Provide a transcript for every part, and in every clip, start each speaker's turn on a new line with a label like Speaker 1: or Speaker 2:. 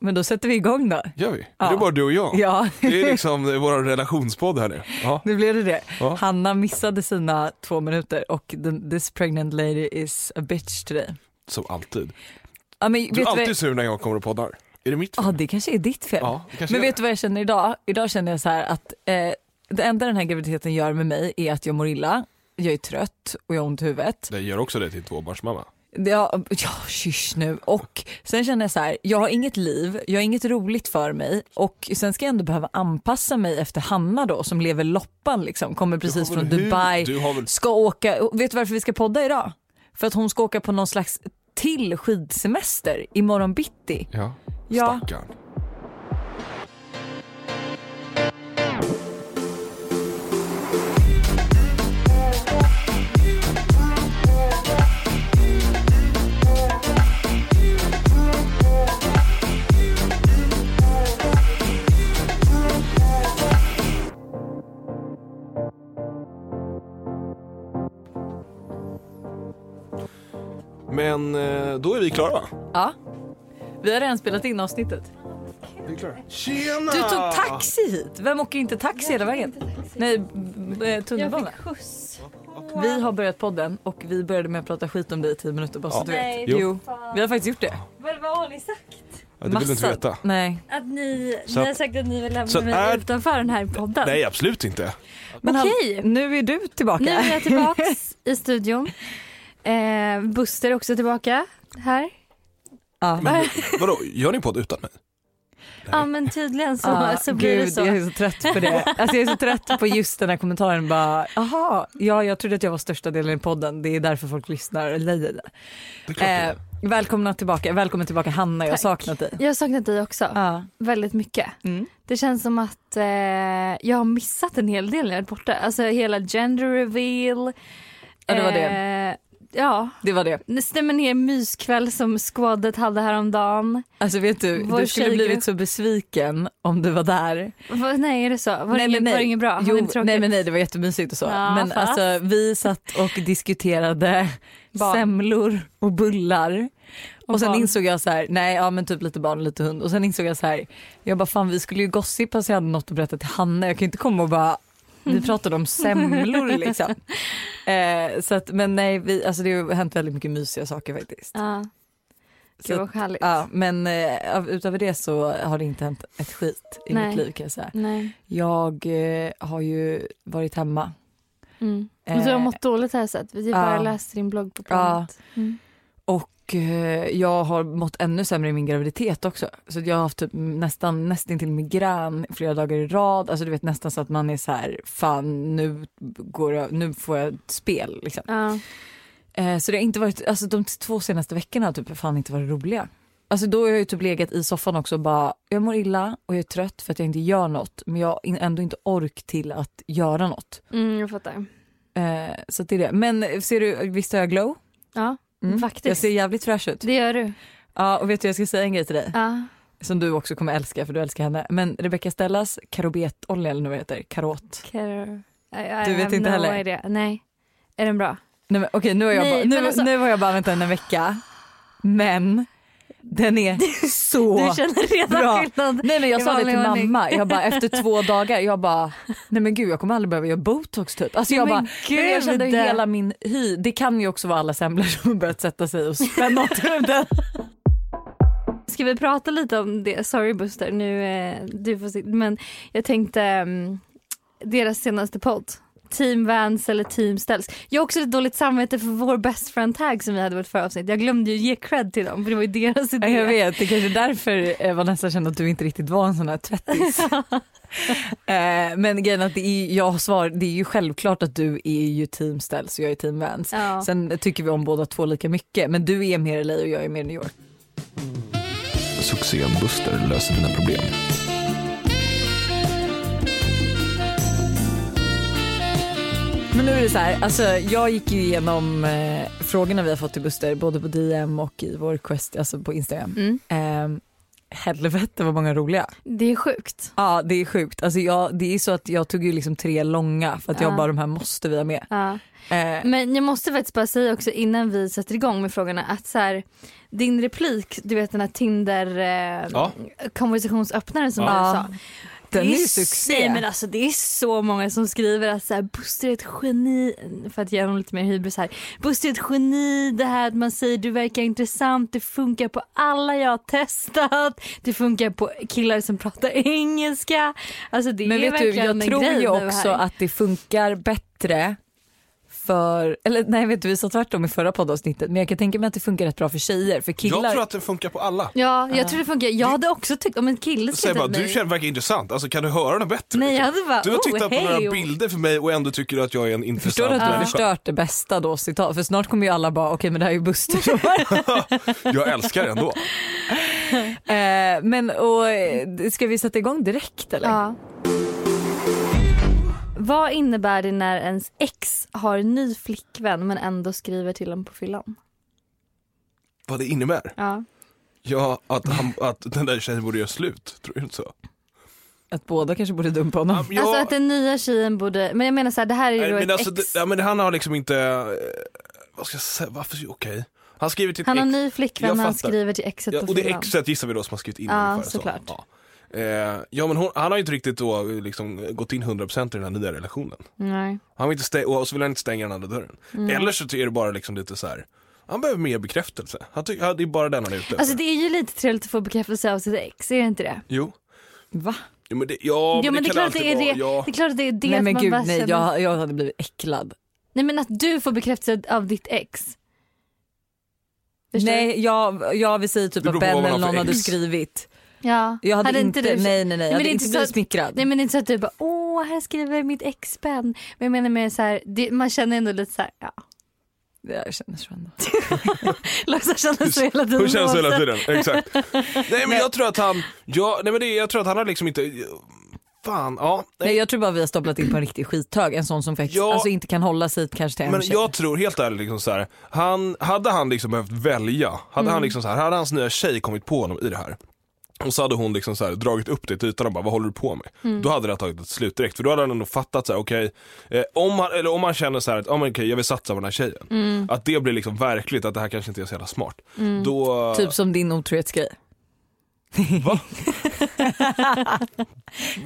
Speaker 1: Men då sätter vi igång då.
Speaker 2: Gör vi?
Speaker 1: Ja.
Speaker 2: Det är bara du och jag.
Speaker 1: Ja.
Speaker 2: Det är liksom eh, vår relationspodd här nu. Ja.
Speaker 1: Nu blev det det.
Speaker 2: Ja.
Speaker 1: Hanna missade sina två minuter och the, this pregnant lady is a bitch today.
Speaker 2: Som alltid.
Speaker 1: Ja, men
Speaker 2: Du
Speaker 1: vet
Speaker 2: är
Speaker 1: vad-
Speaker 2: alltid sur när jag kommer och poddar. Är det mitt fel?
Speaker 1: Ja, det kanske är ditt fel.
Speaker 2: Ja, det kanske
Speaker 1: Men
Speaker 2: är
Speaker 1: vet du vad jag känner idag? Idag känner jag så här att eh, det enda den här graviditeten gör med mig är att jag mår illa, jag är trött och jag har ont i huvudet.
Speaker 2: Det gör också det till tvåbarnsmamma.
Speaker 1: Det- Ja, ja kyss nu. Och sen känner jag så här, jag har inget liv, jag har inget roligt för mig och sen ska jag ändå behöva anpassa mig efter Hanna då som lever loppan liksom, kommer precis
Speaker 2: har väl
Speaker 1: från
Speaker 2: hur-
Speaker 1: Dubai,
Speaker 2: du har väl-
Speaker 1: ska åka, och vet du varför vi ska podda idag? För att hon ska åka på någon slags till skidsemester imorgon bitti.
Speaker 2: Ja.
Speaker 1: Ja.
Speaker 2: Stackarn. Men eh, då är vi klara va?
Speaker 1: Ja, vi har redan spelat in avsnittet.
Speaker 2: Tjena!
Speaker 1: Du tog taxi hit. Vem åker inte taxi hela vägen? Nej, b- eh, tunnelbana.
Speaker 3: skjuts.
Speaker 1: Vi har börjat podden och vi började med att prata skit om dig i 10 minuter bara så
Speaker 2: Ja.
Speaker 1: du vet.
Speaker 3: Nej,
Speaker 2: Ah. Jo.
Speaker 1: Jo, vi har faktiskt gjort det.
Speaker 3: Vad, vad har ni sagt?
Speaker 2: Ja, det vill du inte veta.
Speaker 1: Nej.
Speaker 3: Att ni,
Speaker 2: Så
Speaker 3: ni
Speaker 2: att-
Speaker 3: har sagt att ni vill
Speaker 2: så
Speaker 3: lämna
Speaker 2: att
Speaker 3: mig
Speaker 2: är-
Speaker 3: utanför den här podden.
Speaker 2: Nej, absolut inte.
Speaker 1: Men
Speaker 3: Okej.
Speaker 1: han, nu är du tillbaka.
Speaker 3: Nu är jag tillbaks i studion. Eh, Buster är också tillbaka här.
Speaker 1: ja.
Speaker 2: Men, vadå, gör ni en podd utan mig?
Speaker 3: Ja men tydligen så,
Speaker 1: Ah,
Speaker 3: så blir
Speaker 1: gud,
Speaker 3: det
Speaker 1: Jag
Speaker 3: så.
Speaker 1: är så trött på det. Alltså, jag är så trött på just den här kommentaren. Bara, aha, ja, jag trodde att jag var största delen i podden. Det är därför folk lyssnar. Lejade.
Speaker 2: Det är klart det
Speaker 1: Eh,
Speaker 2: är.
Speaker 1: välkomna tillbaka. Välkommen tillbaka Hanna, jag har
Speaker 3: Tack.
Speaker 1: saknat dig.
Speaker 3: Jag har saknat dig också
Speaker 1: Ja.
Speaker 3: väldigt mycket.
Speaker 1: Mm.
Speaker 3: Det känns som att eh, jag har missat en hel del när jag är borta. Alltså hela gender reveal.
Speaker 1: Ja, det var det.
Speaker 3: Eh, ja,
Speaker 1: Det var det.
Speaker 3: det stämmer ner myskväll som squadet hade häromdagen.
Speaker 1: Alltså vet du,
Speaker 3: Vår
Speaker 1: du skulle
Speaker 3: tjejgrupp.
Speaker 1: blivit så besviken om du var där.
Speaker 3: Va, nej är det så? Var,
Speaker 1: Nej,
Speaker 3: det,
Speaker 1: men
Speaker 3: inget,
Speaker 1: nej.
Speaker 3: var det inget bra? Var det
Speaker 1: Jo,
Speaker 3: inte tråkigt?
Speaker 1: nej men nej det var jättemysigt och så.
Speaker 3: Ja,
Speaker 1: men
Speaker 3: fast.
Speaker 1: alltså vi satt och diskuterade
Speaker 3: Barn.
Speaker 1: semlor och bullar. Och,
Speaker 3: Och
Speaker 1: sen
Speaker 3: barn.
Speaker 1: insåg jag så här, nej ja men typ lite barn och lite hund. Och sen insåg jag så här, jag bara fan vi skulle ju gossipa så jag hade något att berätta till Hanna. Jag kan ju inte komma och bara, vi pratade om semlor liksom. Eh, så att, men nej, vi, alltså det har hänt väldigt mycket mysiga saker faktiskt.
Speaker 3: Ja.
Speaker 1: Så
Speaker 3: Gud vad härligt.
Speaker 1: Ja, men eh, av- utöver det så har det inte hänt ett skit i
Speaker 3: Nej.
Speaker 1: mitt liv kan jag säga.
Speaker 3: Nej.
Speaker 1: Jag eh, har ju varit hemma.
Speaker 3: Mm. Men du har
Speaker 1: Eh,
Speaker 3: mått dåligt här så att vi
Speaker 1: ja.
Speaker 3: bara läste din blogg på planet. Mm.
Speaker 1: och eh, jag har mått ännu sämre i min graviditet också. Så att jag har haft typ nästan nästintill migrän flera dagar i rad. Alltså du vet nästan så att man är så här, fan nu, går jag, nu får jag ett spel liksom.
Speaker 3: Ja.
Speaker 1: Eh, så det har inte varit, alltså de två senaste veckorna har typ fan inte varit roliga. Alltså då har jag ju typ legat i soffan också och bara, jag mår illa och jag är trött för att jag inte gör något. Men jag har in- ändå inte ork till att göra något.
Speaker 3: Mm, jag fattar.
Speaker 1: Eh, så att det är det. Men ser du, visst har jag glow?
Speaker 3: Ja,
Speaker 1: Mm.
Speaker 3: faktiskt.
Speaker 1: Jag ser jävligt fräsch ut.
Speaker 3: Det gör du.
Speaker 1: Ja, och vet du jag ska säga en grej till dig
Speaker 3: Ja.
Speaker 1: som du också kommer älska för du älskar henne. Men Rebecca Stellas karobetolja eller nu vad det heter, karot.
Speaker 3: Care. I, I
Speaker 1: Du vet
Speaker 3: have
Speaker 1: inte
Speaker 3: no
Speaker 1: heller.
Speaker 3: Idea. Nej. Är den bra?
Speaker 1: Nej men okej nu, har jag
Speaker 3: Nej,
Speaker 1: bara, nu,
Speaker 3: men alltså-
Speaker 1: nu har jag bara väntat en vecka. Men den är så...
Speaker 3: Du känner redan
Speaker 1: bra.
Speaker 3: skillnad.
Speaker 1: Nej men jag
Speaker 3: I
Speaker 1: sa det till
Speaker 3: vanlig ordning.
Speaker 1: mamma, jag bara efter två dagar, jag bara nej men gud jag kommer aldrig behöva göra botox typ. Alltså jag
Speaker 3: Men
Speaker 1: bara, nej, men jag kände
Speaker 3: gud.
Speaker 1: hela min hy, det kan ju också vara alla semlor som har börjat sätta sig och spänna åt den.
Speaker 3: Ska vi prata lite om det? Sorry Buster, nu, eh, du får sitta. Men jag tänkte mm, deras senaste podd. Team Vans eller Team Ställs. Jag har också ett dåligt samvete för vår best friend tag som vi hade i vårt förra avsnitt. Jag glömde ju ge cred till dem för det var ju deras idé.
Speaker 1: Ja, Jag vet, det kanske är därför eh, Vanessa kände att du inte riktigt var en sån här tvättis. Eh, men grejen är att det är, jag svar, det är ju självklart att du är ju team Ställs och jag är team Vans.
Speaker 3: Ja.
Speaker 1: Sen tycker vi om båda två lika mycket men du är mer LA och jag är mer New York.
Speaker 2: Succén Buster löser dina problem.
Speaker 1: Men nu är det så här, alltså jag gick ju igenom eh, frågorna vi har fått till Buster både på DM och i vår quest, alltså på Instagram.
Speaker 3: Mm.
Speaker 1: Eh, helvete vad många roliga.
Speaker 3: Det är sjukt.
Speaker 1: Ja det är sjukt. Alltså jag, det är så att jag tog ju liksom tre långa för att jag
Speaker 3: Ja.
Speaker 1: bara de här måste vi ha med.
Speaker 3: Ja.
Speaker 1: Eh,
Speaker 3: Men jag måste faktiskt bara säga också innan vi sätter igång med frågorna att så här, din replik, du vet den här Tinder eh,
Speaker 2: Ja.
Speaker 3: konversationsöppnaren som
Speaker 2: Ja.
Speaker 3: du sa.
Speaker 1: den är
Speaker 3: Det
Speaker 1: ju
Speaker 3: Nej, men
Speaker 1: succé.
Speaker 3: alltså, det är så många som skriver att så här, Buster är ett geni, för att ge honom lite mer hybris här. Buster är ett geni, det här att man säger du verkar intressant, det funkar på alla jag har testat, det funkar på killar som pratar engelska. Alltså det
Speaker 1: Men
Speaker 3: är
Speaker 1: vet du
Speaker 3: verkligen
Speaker 1: jag
Speaker 3: en
Speaker 1: tror
Speaker 3: grej
Speaker 1: ju
Speaker 3: nu
Speaker 1: också
Speaker 3: här.
Speaker 1: att det funkar bättre för, eller nej vet du vi sa tvärtom i förra poddavsnittet men jag kan tänka mig att det funkar rätt bra för tjejer för killar.
Speaker 2: Jag tror att det funkar på alla.
Speaker 3: Ja, jag tror det funkar. Jag hade också tyckt om en kille
Speaker 2: Säg
Speaker 3: skulle
Speaker 2: bara,
Speaker 3: tagit
Speaker 2: du
Speaker 3: mig.
Speaker 2: känner verkar intressant, alltså kan du höra något bättre?
Speaker 3: Nej, jag hade bara,
Speaker 2: Du har
Speaker 3: oh,
Speaker 2: tittat på
Speaker 3: hej.
Speaker 2: några bilder för mig och ändå tycker du att jag är en
Speaker 1: Förstår
Speaker 2: intressant
Speaker 1: du att du har
Speaker 2: människa.
Speaker 1: förstört det bästa då citat? För snart kommer ju alla bara okej men det här är ju Buster.
Speaker 2: Jag älskar det ändå.
Speaker 1: eh, men och, eh, ska vi sätta igång direkt eller?
Speaker 3: Ja. Vad innebär det när ens ex har ny flickvän men ändå skriver till honom på fyllan?
Speaker 2: Vad det innebär?
Speaker 3: Ja.
Speaker 2: Ja, att, han, att den där tjejen borde göra slut. Tror du inte så?
Speaker 1: Att båda kanske borde dumpa honom.
Speaker 2: Ja, men jag-
Speaker 3: Alltså att den nya tjejen borde, men jag menar så här, det här är ju
Speaker 2: Nej,
Speaker 3: då ett
Speaker 2: men alltså, det,
Speaker 3: ex.
Speaker 2: ja, men han har liksom inte, eh, vad ska jag säga, varför, okej. Han skriver till ett
Speaker 3: han har
Speaker 2: ex.
Speaker 3: ny flickvän
Speaker 2: Jag
Speaker 3: han
Speaker 2: fattar.
Speaker 3: skriver till exet
Speaker 2: Ja,
Speaker 3: på
Speaker 2: och det
Speaker 3: fyllan.
Speaker 2: exet gissar vi då som har skrivit in
Speaker 3: Ja,
Speaker 2: ungefär
Speaker 3: såklart.
Speaker 2: så. Ja. Eh, ja men hon, han har ju inte riktigt då liksom gått in 100% i den här nya relationen.
Speaker 3: Nej.
Speaker 2: Han vill inte stä- och så vill han inte stänga den andra dörren. Mm.
Speaker 3: Mm.
Speaker 2: Eller så är det bara liksom lite så här. han behöver mer bekräftelse. Han tycker, ja, det är bara den han är ute efter.
Speaker 3: Alltså det är ju lite trevligt att få bekräftelse av sitt ex, är det inte det?
Speaker 2: Jo.
Speaker 1: Va?
Speaker 2: Jo men det, ja,
Speaker 3: jo
Speaker 2: men det, kan
Speaker 3: är klart det
Speaker 2: alltid
Speaker 3: är
Speaker 2: vara,
Speaker 3: det,
Speaker 2: ja.
Speaker 3: det är klart att det är det
Speaker 1: nej
Speaker 3: att
Speaker 1: men
Speaker 3: man
Speaker 1: gud
Speaker 3: bara
Speaker 1: nej
Speaker 3: känner-
Speaker 1: jag, jag hade blivit äcklad.
Speaker 3: nej men att du får bekräftelse av ditt ex. Förstår
Speaker 1: Nej jag, jag vill säga typ
Speaker 2: Det beror
Speaker 1: att
Speaker 2: på
Speaker 1: Ben
Speaker 2: vad man
Speaker 1: eller
Speaker 2: har för
Speaker 1: någon hade
Speaker 2: ex.
Speaker 1: skrivit.
Speaker 3: du? Ja.
Speaker 1: Jag hade, inte,
Speaker 3: du-
Speaker 1: nej nej nej, jag
Speaker 3: men
Speaker 1: hade
Speaker 3: det är
Speaker 1: inte
Speaker 3: inte
Speaker 1: blivit
Speaker 3: så-
Speaker 1: smickrad.
Speaker 3: Nej men det är inte så att du bara åh här skriver mitt ex Ben. Men jag menar mer så här, det, man känner ändå lite så här, ja.
Speaker 1: Jag känner så ändå.
Speaker 3: Lotta känner så hela tiden.
Speaker 2: Hur känns det hela tiden? Exakt. Nej men jag tror att han, ja, nej men det, jag tror att han har liksom inte, fan, ja.
Speaker 1: Nej jag tror bara vi har staplat in på en riktig skithög, en sån som faktiskt
Speaker 2: Ja.
Speaker 1: alltså, inte kan hålla sig kanske till en
Speaker 2: Men
Speaker 1: tjej.
Speaker 2: jag tror helt ärligt, liksom så här, han, hade han liksom behövt välja, hade,
Speaker 1: Mm.
Speaker 2: han liksom så här, hade hans nya tjej kommit på honom i det här och så hade hon liksom så här, dragit upp det till ytan och bara vad håller du på med?
Speaker 1: Mm.
Speaker 2: Då hade det tagit ett slut direkt för då hade han ändå fattat så här, okej, eh, om, han- eller om han känner så här att ah, men okej, jag vill satsa på den här tjejen.
Speaker 3: Mm.
Speaker 2: Att det blir liksom verkligt att det här kanske inte är så jävla smart. Då,
Speaker 1: Typ som din otrohetsgrej.
Speaker 2: Va?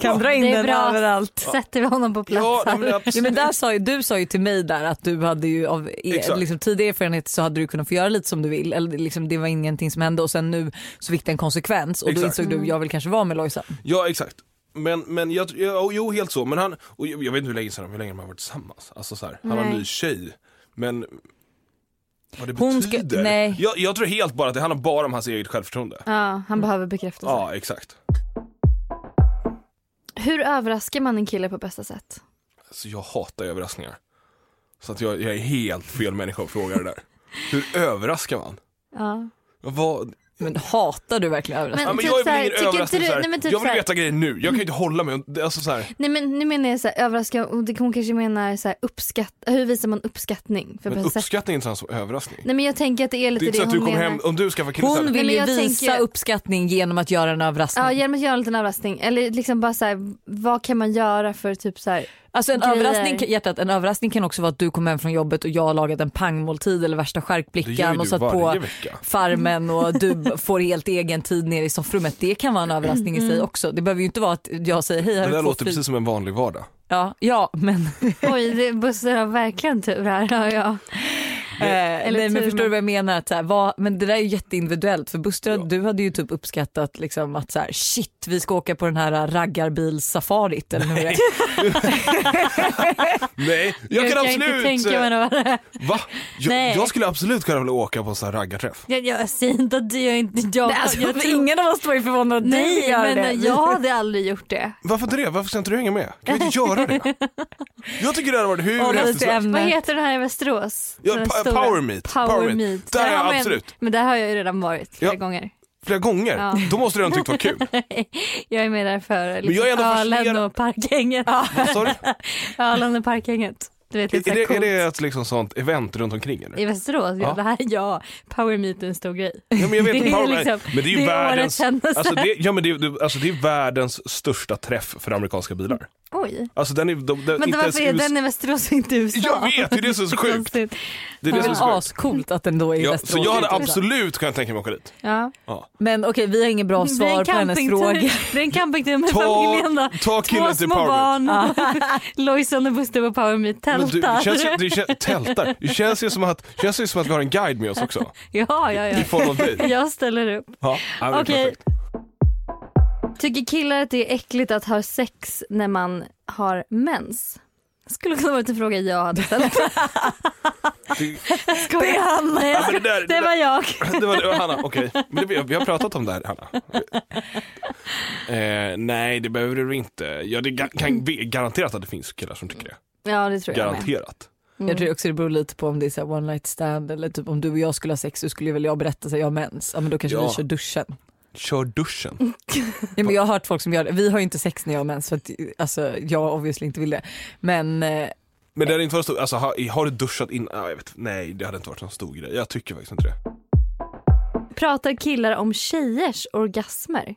Speaker 1: kan dra in
Speaker 3: Det är
Speaker 1: den
Speaker 3: bra.
Speaker 1: överallt.
Speaker 3: Sätter vi honom på plats
Speaker 2: ja, nej,
Speaker 3: här.
Speaker 2: men absolut.
Speaker 1: Ja, men där sa ju, du sa ju till mig där att du hade ju av er,
Speaker 2: Exakt.
Speaker 1: liksom, tidigare erfarenhet så hade du kunnat få göra lite som du vill. Eller, liksom, det var ingenting som hände och sen nu så fick det en konsekvens och
Speaker 2: Exakt.
Speaker 1: då insåg
Speaker 3: Mm.
Speaker 1: du jag vill kanske vara med Lojsan.
Speaker 2: Ja exakt. Men, men jag, jag, jo helt så, men han, och jag, jag vet inte hur länge sedan, hur länge de har varit tillsammans. Alltså så här, han har en
Speaker 3: Nej.
Speaker 2: ny tjej. Men vad det
Speaker 1: Hon ska-
Speaker 2: betyder?
Speaker 1: nej.
Speaker 2: Jag, jag tror helt bara att det handlar bara om hans eget självförtroende.
Speaker 3: Ja, han behöver bekräftelse.
Speaker 2: Ja exakt.
Speaker 3: Hur överraskar man en kille på bästa sätt?
Speaker 2: Alltså, jag hatar överraskningar. Så att jag, jag är helt fel människa att fråga det där. Hur överraskar man?
Speaker 3: Ja.
Speaker 2: Vad,
Speaker 1: Men hatar du verkligen överraskningar?
Speaker 2: ja, men
Speaker 3: typ
Speaker 2: jag är
Speaker 3: så här,
Speaker 2: väl ingen
Speaker 3: tycker
Speaker 2: överraskning
Speaker 3: inte
Speaker 2: så
Speaker 3: du-
Speaker 2: här.
Speaker 3: nej, men typ
Speaker 2: Jag vill
Speaker 3: så här-
Speaker 2: veta grejer nu, jag kan ju inte hålla mig. Alltså, så här.
Speaker 3: Nej men nu menar jag så här, överraska, och det hon kanske menar så här, uppskatt, hur visar man uppskattning? För
Speaker 2: Men
Speaker 3: bästa sätt?
Speaker 2: uppskattning är inte samma som överraskning.
Speaker 3: Nej men jag tänker att det är lite
Speaker 2: Det är inte
Speaker 3: det,
Speaker 2: så att du
Speaker 3: hon
Speaker 2: kommer
Speaker 3: menar.
Speaker 2: hem, om du skaffar kille så här,
Speaker 1: Hon vill
Speaker 3: men
Speaker 1: ju
Speaker 3: jag
Speaker 1: visa
Speaker 3: tänker-
Speaker 1: uppskattning genom att göra en överraskning.
Speaker 3: Ja, genom att göra en liten överraskning. Eller liksom bara så här, vad kan man göra för typ så här,
Speaker 1: Alltså en
Speaker 3: grejer.
Speaker 1: överraskning, hjärtat, en överraskning kan också vara att du kommer hem från jobbet och jag har lagat en pangmåltid eller värsta
Speaker 2: det gör
Speaker 1: skärkblickan
Speaker 2: ju
Speaker 1: och
Speaker 2: du
Speaker 1: satt på
Speaker 2: varje vecka.
Speaker 1: Farmen och du får helt egen tid nere i soffrummet. Det kan vara en överraskning i
Speaker 3: Mm.
Speaker 1: sig också. Det behöver ju inte vara att jag säger hej här
Speaker 2: Det
Speaker 1: är
Speaker 2: där
Speaker 1: två
Speaker 2: låter
Speaker 1: fil-
Speaker 2: precis som en vanlig vardag.
Speaker 1: Ja, ja men,
Speaker 3: oj det- Buster har verkligen tur här. Ja, ja.
Speaker 1: eh, nej,
Speaker 3: tur,
Speaker 1: men förstår du
Speaker 3: men-
Speaker 1: vad jag menar? Att så här, vad, men det där är ju jätteindividuellt för Buster
Speaker 2: Ja.
Speaker 1: du hade ju typ uppskattat liksom att så här, shit vi ska åka på den här raggarbilsafarit eller hur det är.
Speaker 2: Nej, jag kan
Speaker 3: kan inte
Speaker 2: absolut... eh,
Speaker 3: tänka mig något annat.
Speaker 2: Va? Jag,
Speaker 3: Nej.
Speaker 2: jag skulle absolut kunna vilja åka på en sån här raggarträff.
Speaker 3: Jag, jag säger inte att jag inte jag,
Speaker 1: Nej, alltså,
Speaker 3: jag tror-
Speaker 1: Ingen av oss var ju förvånad att du
Speaker 3: Nej
Speaker 1: gör
Speaker 3: men
Speaker 1: det.
Speaker 3: jag hade aldrig gjort det.
Speaker 2: Varför inte det? Varför ska inte du hänga med? Kan vi inte göra det? Jag tycker det hade varit hur
Speaker 1: Hålla sig
Speaker 2: häftigt
Speaker 1: till
Speaker 2: som helst.
Speaker 3: Vad
Speaker 1: ämnet.
Speaker 3: heter den här i Västerås?
Speaker 2: Ja,
Speaker 3: Den här
Speaker 2: pa-
Speaker 3: stora-
Speaker 2: Power Meet.
Speaker 3: Power,
Speaker 2: Power
Speaker 3: meet.
Speaker 2: Meet. Där har jag
Speaker 3: men,
Speaker 2: absolut.
Speaker 3: Men där har jag ju redan varit flera
Speaker 2: Ja.
Speaker 3: gånger.
Speaker 2: Flera gånger.
Speaker 3: Ja.
Speaker 2: Då måste du redan tyckt det var kul.
Speaker 3: Jag är med där för
Speaker 2: jag är
Speaker 3: liksom,
Speaker 2: ändå
Speaker 3: ölen
Speaker 2: fascinerad-
Speaker 3: och parkhänget.
Speaker 2: Vad sa du?
Speaker 3: ölen och parkhänget. Du vet,
Speaker 2: Är,
Speaker 3: lite
Speaker 2: är,
Speaker 3: så här
Speaker 2: det, är
Speaker 3: coolt.
Speaker 2: det ett liksom sånt event runt omkring eller?
Speaker 3: I Västerås, ja.
Speaker 2: Ja.
Speaker 3: det här ja, power meet är en stor grej.
Speaker 2: Ja, men jag vet
Speaker 3: det
Speaker 2: inte,
Speaker 3: är
Speaker 2: Power-
Speaker 3: liksom-
Speaker 2: men det är ju
Speaker 3: det är årets
Speaker 2: världens,
Speaker 3: händelse.
Speaker 2: alltså det, ja, men det, är- det, alltså det är världens största träff för amerikanska bilar.
Speaker 3: Oj.
Speaker 2: Alltså den är, de, de,
Speaker 3: Men
Speaker 2: inte ens
Speaker 3: varför är
Speaker 2: US
Speaker 3: den i Västerås och inte i USA? Liksom
Speaker 2: Jag vet, det är det som är så sjukt.
Speaker 3: Konstigt.
Speaker 2: Det är
Speaker 1: Det
Speaker 2: det
Speaker 1: är
Speaker 2: som är
Speaker 1: väl
Speaker 2: så sjukt.
Speaker 1: ascoolt att den då är i
Speaker 2: Ja,
Speaker 1: Västerås.
Speaker 2: så jag hade
Speaker 1: liksom.
Speaker 2: absolut kunnat tänka mig att åka dit.
Speaker 3: Ja.
Speaker 1: Men okej, vi har inget bra
Speaker 3: Det är en
Speaker 1: svar på hennes
Speaker 3: campingtur.
Speaker 1: fråga.
Speaker 3: Det är en campingtur med
Speaker 2: Ta,
Speaker 3: familjen då.
Speaker 2: ta
Speaker 3: Två
Speaker 2: killen till
Speaker 3: små
Speaker 2: Power Meet.
Speaker 3: barn, Lojsan och Buster på Power Meet
Speaker 2: Men du,
Speaker 3: tältar.
Speaker 2: det känns, ju- det kän, tältar. Det känns ju som att, det känns ju som att vi har en guide med oss också.
Speaker 3: Ja, ja,
Speaker 2: I
Speaker 3: ja.
Speaker 2: form av dig.
Speaker 3: Jag ställer upp.
Speaker 2: Ja, ja, men
Speaker 3: Okej.
Speaker 2: perfekt.
Speaker 3: Tycker killar att det är äckligt att ha sex när man har mens? Skulle kunna varit en fråga jag hade ställt.
Speaker 2: Det-
Speaker 3: Skojar. Det, han. Nej, jag
Speaker 2: Ja, men
Speaker 3: skojar.
Speaker 2: det där-
Speaker 3: det
Speaker 2: det
Speaker 3: var jag.
Speaker 2: Det var det, Hanna, okej. Men det, vi har pratat om det här, Hanna. Eh, nej, det behöver du inte. Ja, det ga- kan vi- garanterat att det finns killar som tycker det.
Speaker 3: Ja, det tror jag med.
Speaker 2: Garanterat.
Speaker 3: Mm.
Speaker 1: Jag tror också det beror lite på om det är så här one night stand eller typ om du och jag skulle ha sex så skulle väl jag berätta så här, jag har mens. Ja men då kanske
Speaker 2: Ja.
Speaker 1: vi kör duschen.
Speaker 2: Kör duschen.
Speaker 1: Ja, men jag har hört folk som gör det. Vi har ju inte sex när jag har mens för att alltså, jag obviously inte vill det. Men eh,
Speaker 2: Men det hade inte varit stor, alltså, har, har du duschat innan? Ah, jag vet, nej, det hade inte varit någon stor grej. Jag tycker faktiskt inte det.
Speaker 3: Mm. Pratar killar om tjejers orgasmer?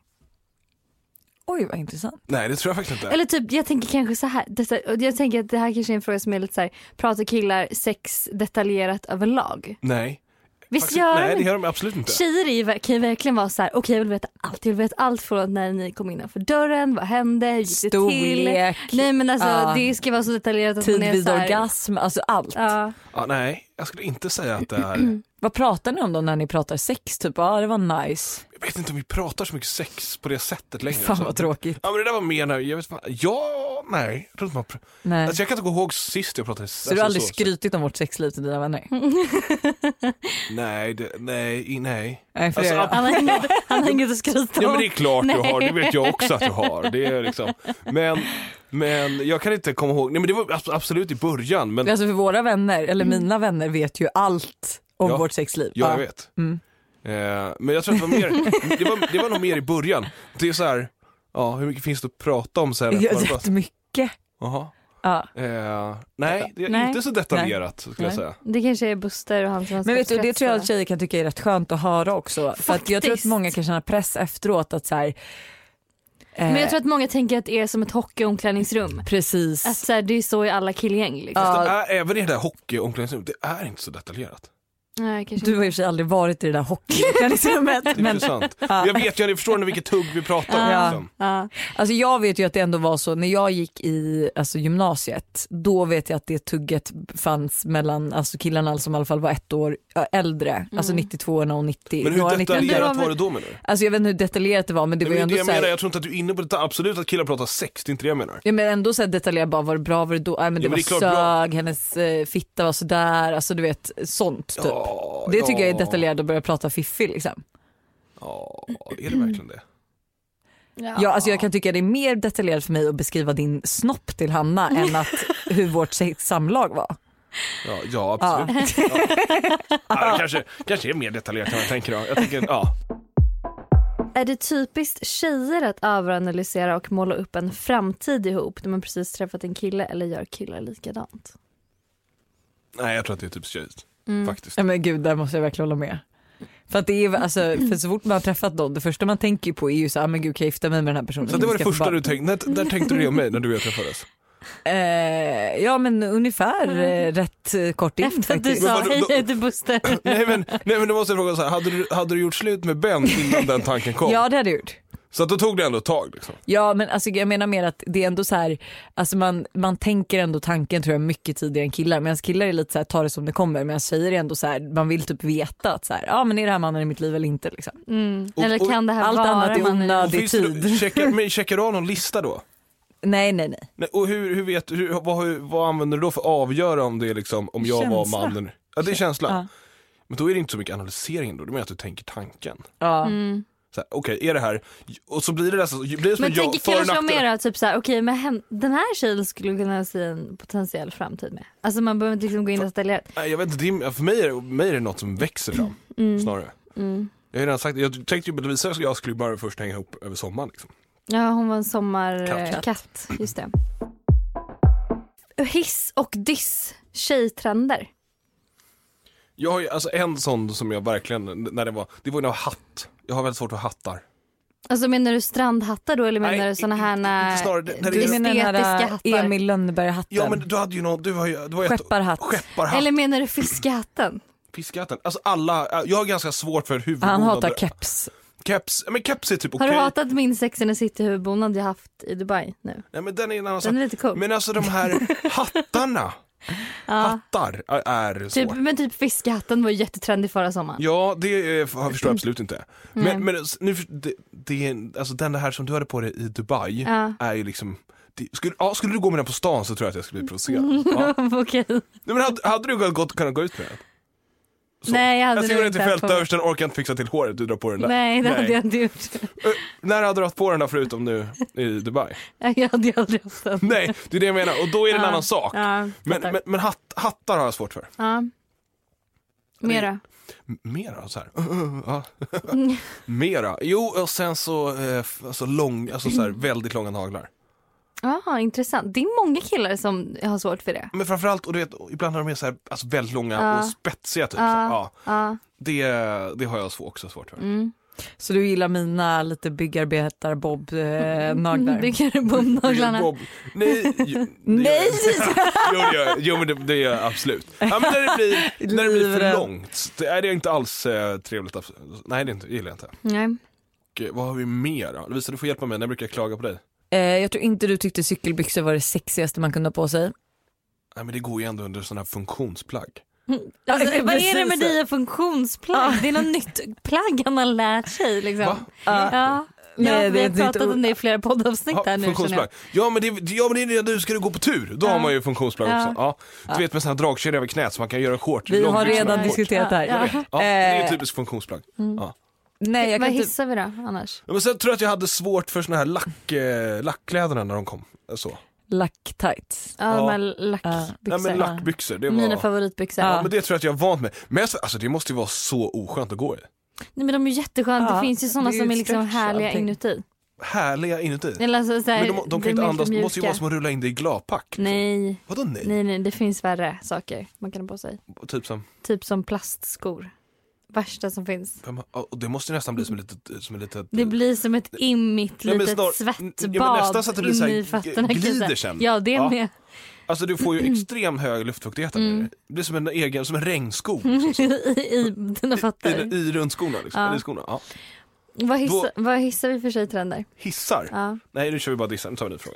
Speaker 1: oj vad intressant.
Speaker 2: Nej, det tror jag faktiskt inte.
Speaker 3: Eller typ, jag tänker kanske så här. Detta, och jag tänker att det här kanske är en fråga som är lite så här. Pratar killar sex detaljerat överlag?
Speaker 2: Nej.
Speaker 3: Visst
Speaker 2: Faktiskt,
Speaker 3: gör
Speaker 2: nej,
Speaker 3: de
Speaker 2: det gör de absolut inte.
Speaker 3: Tjejer är ju, ver- kan ju verkligen vara så här, okej jag vill veta allt, jag vill veta allt från när ni kom innanför dörren, vad hände, hur gick det till?
Speaker 1: Storlek,
Speaker 3: Nej men alltså
Speaker 1: Ja.
Speaker 3: det ska vara så detaljerat att
Speaker 1: tid
Speaker 3: man är
Speaker 1: vid
Speaker 3: så här,
Speaker 1: orgasm, alltså allt.
Speaker 3: Ja.
Speaker 2: Ja, nej, jag skulle inte säga att det är...
Speaker 1: Vad pratar ni om då när ni pratar sex? Typ ja ah, det var nice.
Speaker 2: Jag vet inte om vi pratar så mycket sex på det sättet längre.
Speaker 1: Fan vad
Speaker 2: alltså.
Speaker 1: tråkigt.
Speaker 2: Ja, men det där var mer när... Jag vet fan, ja, nej. Jag tror inte man pr-
Speaker 1: Nej.
Speaker 2: Alltså jag kan inte gå ihåg sist jag alltså, pratade
Speaker 1: så du har aldrig skrytit om vårt sexliv till dina vänner?
Speaker 2: Nej, det, nej, i- nej.
Speaker 1: Nej, för
Speaker 2: Alltså,
Speaker 1: det gör jag.
Speaker 3: Han har inget- han har inget att skryta
Speaker 2: Ja men
Speaker 3: om.
Speaker 2: det är klart du
Speaker 3: Nej.
Speaker 2: har, det vet jag också att du har. Det är liksom. men, men jag kan inte komma ihåg, nej men det var abs- absolut i början men ja,
Speaker 1: Alltså för våra vänner, eller
Speaker 3: Mm.
Speaker 1: mina vänner vet ju allt om
Speaker 2: Ja.
Speaker 1: vårt sexliv.
Speaker 2: jag
Speaker 1: Ja.
Speaker 2: vet.
Speaker 1: Mm.
Speaker 2: Eh, men jag tror att det var mer, det var, det var nog mer i början. Det är så här, ja hur mycket finns det att prata om sen? efter
Speaker 1: Ja,
Speaker 2: man har pratat?
Speaker 1: Jättemycket.
Speaker 2: Jaha.
Speaker 3: Alltså,
Speaker 1: Ja.
Speaker 2: Eh, nej, det är
Speaker 3: Nej.
Speaker 2: inte så detaljerat skulle jag
Speaker 1: Nej.
Speaker 2: säga.
Speaker 3: Det kanske är Buster och han som har
Speaker 1: Men vet du, det
Speaker 3: stress
Speaker 1: tror jag
Speaker 3: då.
Speaker 1: att tjejer kan tycka är rätt skönt att höra också. För att jag tror att
Speaker 3: Faktiskt.
Speaker 1: många kan känna press efteråt att så här, eh,
Speaker 3: Men jag tror att många tänker att det är som ett hockeyomklädningsrum.
Speaker 1: precis.
Speaker 3: Att Alltså, så här, det är så i alla killgäng liksom.
Speaker 1: Ja.
Speaker 2: Fast det är, även i det där hockeyomklädningsrummet, det är inte så detaljerat.
Speaker 3: Nej, kanske
Speaker 1: du
Speaker 3: inte.
Speaker 1: har i och för sig aldrig varit i det där hockeyomklädningsrummet.
Speaker 2: Det är
Speaker 1: men
Speaker 2: intressant.
Speaker 1: Ja.
Speaker 2: Jag vet, jag förstår nu vilket tugg vi pratar om.
Speaker 1: Ja.
Speaker 2: Liksom.
Speaker 3: Ja.
Speaker 1: alltså jag vet ju att det ändå var så när jag gick i alltså gymnasiet. Då vet jag att det tugget fanns mellan alltså killarna som i alla fall var ett år ä, äldre. Alltså 92 och 90.
Speaker 2: Men
Speaker 1: några
Speaker 2: hur
Speaker 1: 90.
Speaker 2: detaljerat
Speaker 3: Men-
Speaker 2: var det då menar du?
Speaker 1: Alltså jag vet inte hur detaljerat det var men det var
Speaker 2: Nej,
Speaker 1: ju
Speaker 2: men det
Speaker 1: ändå
Speaker 2: jag,
Speaker 1: så här,
Speaker 2: menar, jag tror inte att du är inne på det. Absolut att killar pratar sex, det är inte det jag menar.
Speaker 1: Ja men ändå så här detaljerat bara var det bra, var det då, nej men det
Speaker 2: Ja, men
Speaker 1: var
Speaker 2: det är klart bra.
Speaker 1: sög, hennes eh, fitta var sådär, alltså du vet sånt typ.
Speaker 2: Ja,
Speaker 1: det tycker
Speaker 2: ja.
Speaker 1: jag är detaljerat att börja prata fiffig liksom.
Speaker 2: Ja, är det verkligen det?
Speaker 3: Ja.
Speaker 1: Ja. alltså jag kan tycka det är mer detaljerat för mig att beskriva din snopp till Hanna än att hur vårt se- samlag var.
Speaker 2: Ja, ja absolut. Ja. Ja, det kanske, kanske är mer detaljerat än vad jag tänker. Då. Jag tänker ja.
Speaker 3: Är det typiskt tjejer att överanalysera och måla upp en framtid ihop när man precis träffat en kille eller gör killar likadant?
Speaker 2: Nej, jag tror att det är typ tjejigt. Faktiskt.
Speaker 1: Ja men gud där måste jag verkligen hålla med. För att det är alltså, för så fort man har träffat någon, det första man tänker ju på är ju så här, "Ah, men gud kan jag gifta mig med den här personen?
Speaker 2: Så det var
Speaker 1: Vi ska
Speaker 2: det
Speaker 1: få
Speaker 2: första
Speaker 1: barn.
Speaker 2: du tänkte, när, när tänkte du det om mig när du och jag träffades?
Speaker 1: Eh, ja men ungefär eh, rätt eh, kort in
Speaker 3: Efter att du
Speaker 1: faktiskt.
Speaker 3: sa
Speaker 2: Men vadå,
Speaker 3: hej
Speaker 2: då-
Speaker 3: jag heter Buster.
Speaker 2: Nej men, nej, men då måste jag fråga så här, hade du, hade du gjort slut med Ben innan den tanken kom?
Speaker 1: Ja det hade jag gjort.
Speaker 2: Så att då tog det ändå ett tag liksom.
Speaker 1: Ja men alltså, jag menar mer att det är ändå så här, alltså man, man tänker ändå tanken tror jag mycket tidigare än killar. Medan killar är lite så här, ta det som det kommer. Medan tjejer är ändå så här, man vill typ veta att så här, ja men är det här mannen i mitt liv eller inte liksom.
Speaker 3: Mm.
Speaker 2: Och-
Speaker 3: eller
Speaker 2: och-
Speaker 3: kan det här
Speaker 1: allt
Speaker 3: vara
Speaker 1: annat är
Speaker 3: mannen?
Speaker 1: onödigt. Ja, det är
Speaker 2: Finns det-
Speaker 1: tid.
Speaker 2: Checkar, men checkar du av någon lista då?
Speaker 1: Nej nej nej.
Speaker 2: Nej, och hur, hur vet, hur, vad, hur, vad använder du då för att avgöra om det är liksom, om jag var
Speaker 1: Känsla.
Speaker 2: mannen? Ja det är känsla.
Speaker 1: Ja.
Speaker 2: Men då är det inte så mycket analysering då, det menar att du tänker tanken.
Speaker 1: Ja.
Speaker 3: Mm.
Speaker 2: Så här, Okej, är det här, och så blir det nästan, blir det som
Speaker 3: Men
Speaker 2: att jag,
Speaker 3: tänker
Speaker 2: för-
Speaker 3: killar
Speaker 2: och
Speaker 3: som
Speaker 2: nackdelar.
Speaker 3: mer typ såhär, okej men hen, den här tjejen skulle kunna se en potentiell framtid med. Alltså man behöver inte liksom gå in detaljerat.
Speaker 2: Nej jag vet inte, det är, för mig är, det, mig är det något som växer fram snarare.
Speaker 3: Mm.
Speaker 2: Jag har redan sagt, jag tänkte ju bevisa att jag skulle bara först hänga ihop över sommaren liksom.
Speaker 3: Ja hon var en sommarkatt,
Speaker 2: Katt.
Speaker 3: just det. hiss och diss tjejtrender?
Speaker 2: Jag har ju, alltså en sån som jag verkligen, när det var, det var ju när jag var hatt. Jag har väldigt svårt för hattar.
Speaker 3: Alltså menar du strandhattar då eller menar
Speaker 2: Nej,
Speaker 3: du såna här
Speaker 2: inte-
Speaker 3: när,
Speaker 2: inte snarare, det- när det är-
Speaker 1: Du menar den
Speaker 3: estetiska
Speaker 1: här eh,
Speaker 3: hattar?
Speaker 1: Emil Lönneberg-hatten?
Speaker 2: Ja men du hade ju någon, du var ju, det var ju ett-
Speaker 1: Skepparhatt.
Speaker 2: Skepparhatt,
Speaker 3: Eller menar du fiskhatten?
Speaker 2: fiskhatten. Alltså alla, jag har ganska svårt för huvudbonad.
Speaker 1: Han hatar keps.
Speaker 2: keps. Men keps är typ
Speaker 3: Har
Speaker 2: okej.
Speaker 3: du hatat min Sex and the City huvudbonad jag haft i Dubai nu?
Speaker 2: Nej men den är en annan sak.
Speaker 3: Den är lite cool.
Speaker 2: Men alltså de här hattarna,
Speaker 3: ja.
Speaker 2: hattar är- är svårt.
Speaker 3: typ, men typ fiskhatten var ju jättetrendig förra sommaren.
Speaker 2: Ja, det eh, f- jag förstår jag absolut inte.
Speaker 3: Nej.
Speaker 2: Men, men s- nu, för- det, det, är- alltså den här som du hade på dig i Dubai
Speaker 3: Ja.
Speaker 2: är ju liksom det, skulle, ja, skulle du gå med den på stan så tror jag att jag skulle bli provocerad. Ja.
Speaker 3: Okej.
Speaker 2: Nej, men hade, hade du gått, kunnat gå ut med den? Så. Alltså,
Speaker 3: Nej jag hade
Speaker 2: Jag ska gå
Speaker 3: nog
Speaker 2: ner till
Speaker 3: haft på mig.
Speaker 2: fältöversten, orkar inte fixa till håret, du drar på den där.
Speaker 3: Nej det
Speaker 2: Nej.
Speaker 3: hade jag inte gjort.
Speaker 2: Ö, när hade du haft på den där förutom nu i Dubai?
Speaker 3: Jag hade ju aldrig haft den.
Speaker 2: Nej, det är det jag menar och då är det en
Speaker 3: Ja.
Speaker 2: annan sak.
Speaker 3: Ja,
Speaker 2: Men,
Speaker 3: fattar.
Speaker 2: men, men hatt, hattar har jag svårt för.
Speaker 3: ja. Mera.
Speaker 2: M- Mera så här. Ja. Mera. Jo, och sen så, eh, f- alltså lång, alltså så här, väldigt långa naglar.
Speaker 3: Jaha, intressant. Det är många killar som har svårt för det.
Speaker 2: Men framförallt, och du vet, ibland har de är så här, alltså väldigt långa
Speaker 3: Ja.
Speaker 2: och spetsiga typ.
Speaker 3: Ja.
Speaker 2: Så här, ja.
Speaker 3: Ja.
Speaker 2: det, det har jag svå- också svårt för.
Speaker 3: Mm.
Speaker 1: Så du gillar mina lite eh, byggarbetar-Bob-naglar?
Speaker 3: Bygger bomnaglarna.
Speaker 2: Bob, nej! ju- det gör jag
Speaker 1: Nej!
Speaker 2: inte. Jo, det gör jag. Jo, men det, det gör jag absolut. Ja, men när det blir, när det blir för
Speaker 1: Livrädd.
Speaker 2: långt. Det är det är inte alls eh, trevligt. abs- Nej, det är inte, det gillar jag inte.
Speaker 3: Nej.
Speaker 2: Och, eh, vad har vi mer då? Lovisa, du får hjälpa mig. När brukar jag klaga på dig?
Speaker 1: Eh, jag tror inte du tyckte cykelbyxor var det sexigaste man kunde ha på sig.
Speaker 2: Nej, men det går ju ändå under sådana här funktionsplagg.
Speaker 3: Alltså,
Speaker 1: Ja,
Speaker 3: vad är det med
Speaker 1: precis.
Speaker 3: dina funktionsplagg? Det är något nytt plagg han har lärt sig. Liksom.
Speaker 2: Va?
Speaker 3: Ja.
Speaker 1: Nej,
Speaker 3: ja,
Speaker 1: det
Speaker 3: vi
Speaker 1: är
Speaker 3: har
Speaker 1: ett nytt
Speaker 3: pratat
Speaker 1: ord.
Speaker 3: om det i flera poddavsnitt
Speaker 2: Ja,
Speaker 3: här nu. känner
Speaker 2: funktionsplagg.
Speaker 3: jag.
Speaker 2: Ja men, det, ja men det är det, du ska du gå på tur, då har
Speaker 3: Ja.
Speaker 2: man ju funktionsplagg
Speaker 3: Ja.
Speaker 2: också. Ja. Du vet med sådana här dragkedjor över knät så man kan göra short.
Speaker 1: Vi har
Speaker 2: långbyxor
Speaker 1: redan
Speaker 2: med short.
Speaker 1: diskuterat det här.
Speaker 3: Ja, ja.
Speaker 2: Ja, det
Speaker 3: eh,
Speaker 2: är ju typiskt funktionsplagg. Ja.
Speaker 1: Nej, jag
Speaker 3: Vad
Speaker 1: kan inte...
Speaker 3: hissar vi då annars?
Speaker 2: Ja, Men sen tror jag att jag hade svårt för såna här lack, eh, lackkläderna när de kom. Eh, Så.
Speaker 1: Lack-tights.
Speaker 3: Ja,
Speaker 2: Ja.
Speaker 3: de här lackbyxorna.
Speaker 1: Ja.
Speaker 2: Nej men lackbyxor, det var...
Speaker 3: Mina favoritbyxor.
Speaker 2: ja, men det tror jag att jag är vant med. Men jag, alltså det måste ju vara så oskönt att gå i.
Speaker 3: Nej, men de är jättesköna.
Speaker 1: Ja,
Speaker 3: Det finns ju
Speaker 1: det
Speaker 3: sådana
Speaker 1: är ju
Speaker 3: som är liksom
Speaker 1: stretch,
Speaker 3: härliga
Speaker 1: allting.
Speaker 3: inuti.
Speaker 2: Härliga inuti.
Speaker 3: Eller alltså, så här,
Speaker 2: men de, de
Speaker 3: det
Speaker 2: kan ju inte
Speaker 3: är mer
Speaker 2: andas, det måste ju
Speaker 3: mjuka.
Speaker 2: vara som att rulla in dig i gladpack.
Speaker 3: Nej,
Speaker 2: Vadå nej?
Speaker 3: nej, nej, det finns värre saker man kan ha på sig.
Speaker 2: Typ som,
Speaker 3: Typ som plastskor. Värsta som finns.
Speaker 2: vem har- ja, och det måste ju nästan bli som ett litet, som ett litet
Speaker 3: Det blir som ett immigt
Speaker 2: Mm. Nej, men
Speaker 3: litet
Speaker 2: snar-
Speaker 3: svettbad
Speaker 2: ja, men nästan så att det blir
Speaker 3: in
Speaker 2: så här
Speaker 3: i fötterna. kan jag
Speaker 2: glider
Speaker 3: säga.
Speaker 2: sen.
Speaker 3: Ja, det
Speaker 2: Ja.
Speaker 3: med.
Speaker 2: Alltså du får ju extrem hög luftfuktighet. här
Speaker 3: Mm.
Speaker 2: nere. Det blir som en egen, som en regnsko.
Speaker 3: I, I dina
Speaker 2: I,
Speaker 3: fötter.
Speaker 2: i runt skorna liksom.
Speaker 3: Ja.
Speaker 2: I skorna. Ja.
Speaker 3: vad, hissar, vad hissar vi för tjejtrender?
Speaker 2: Hissar.
Speaker 3: Ja.
Speaker 2: Nej nu kör vi bara dissar, nu tar vi en ny fråga.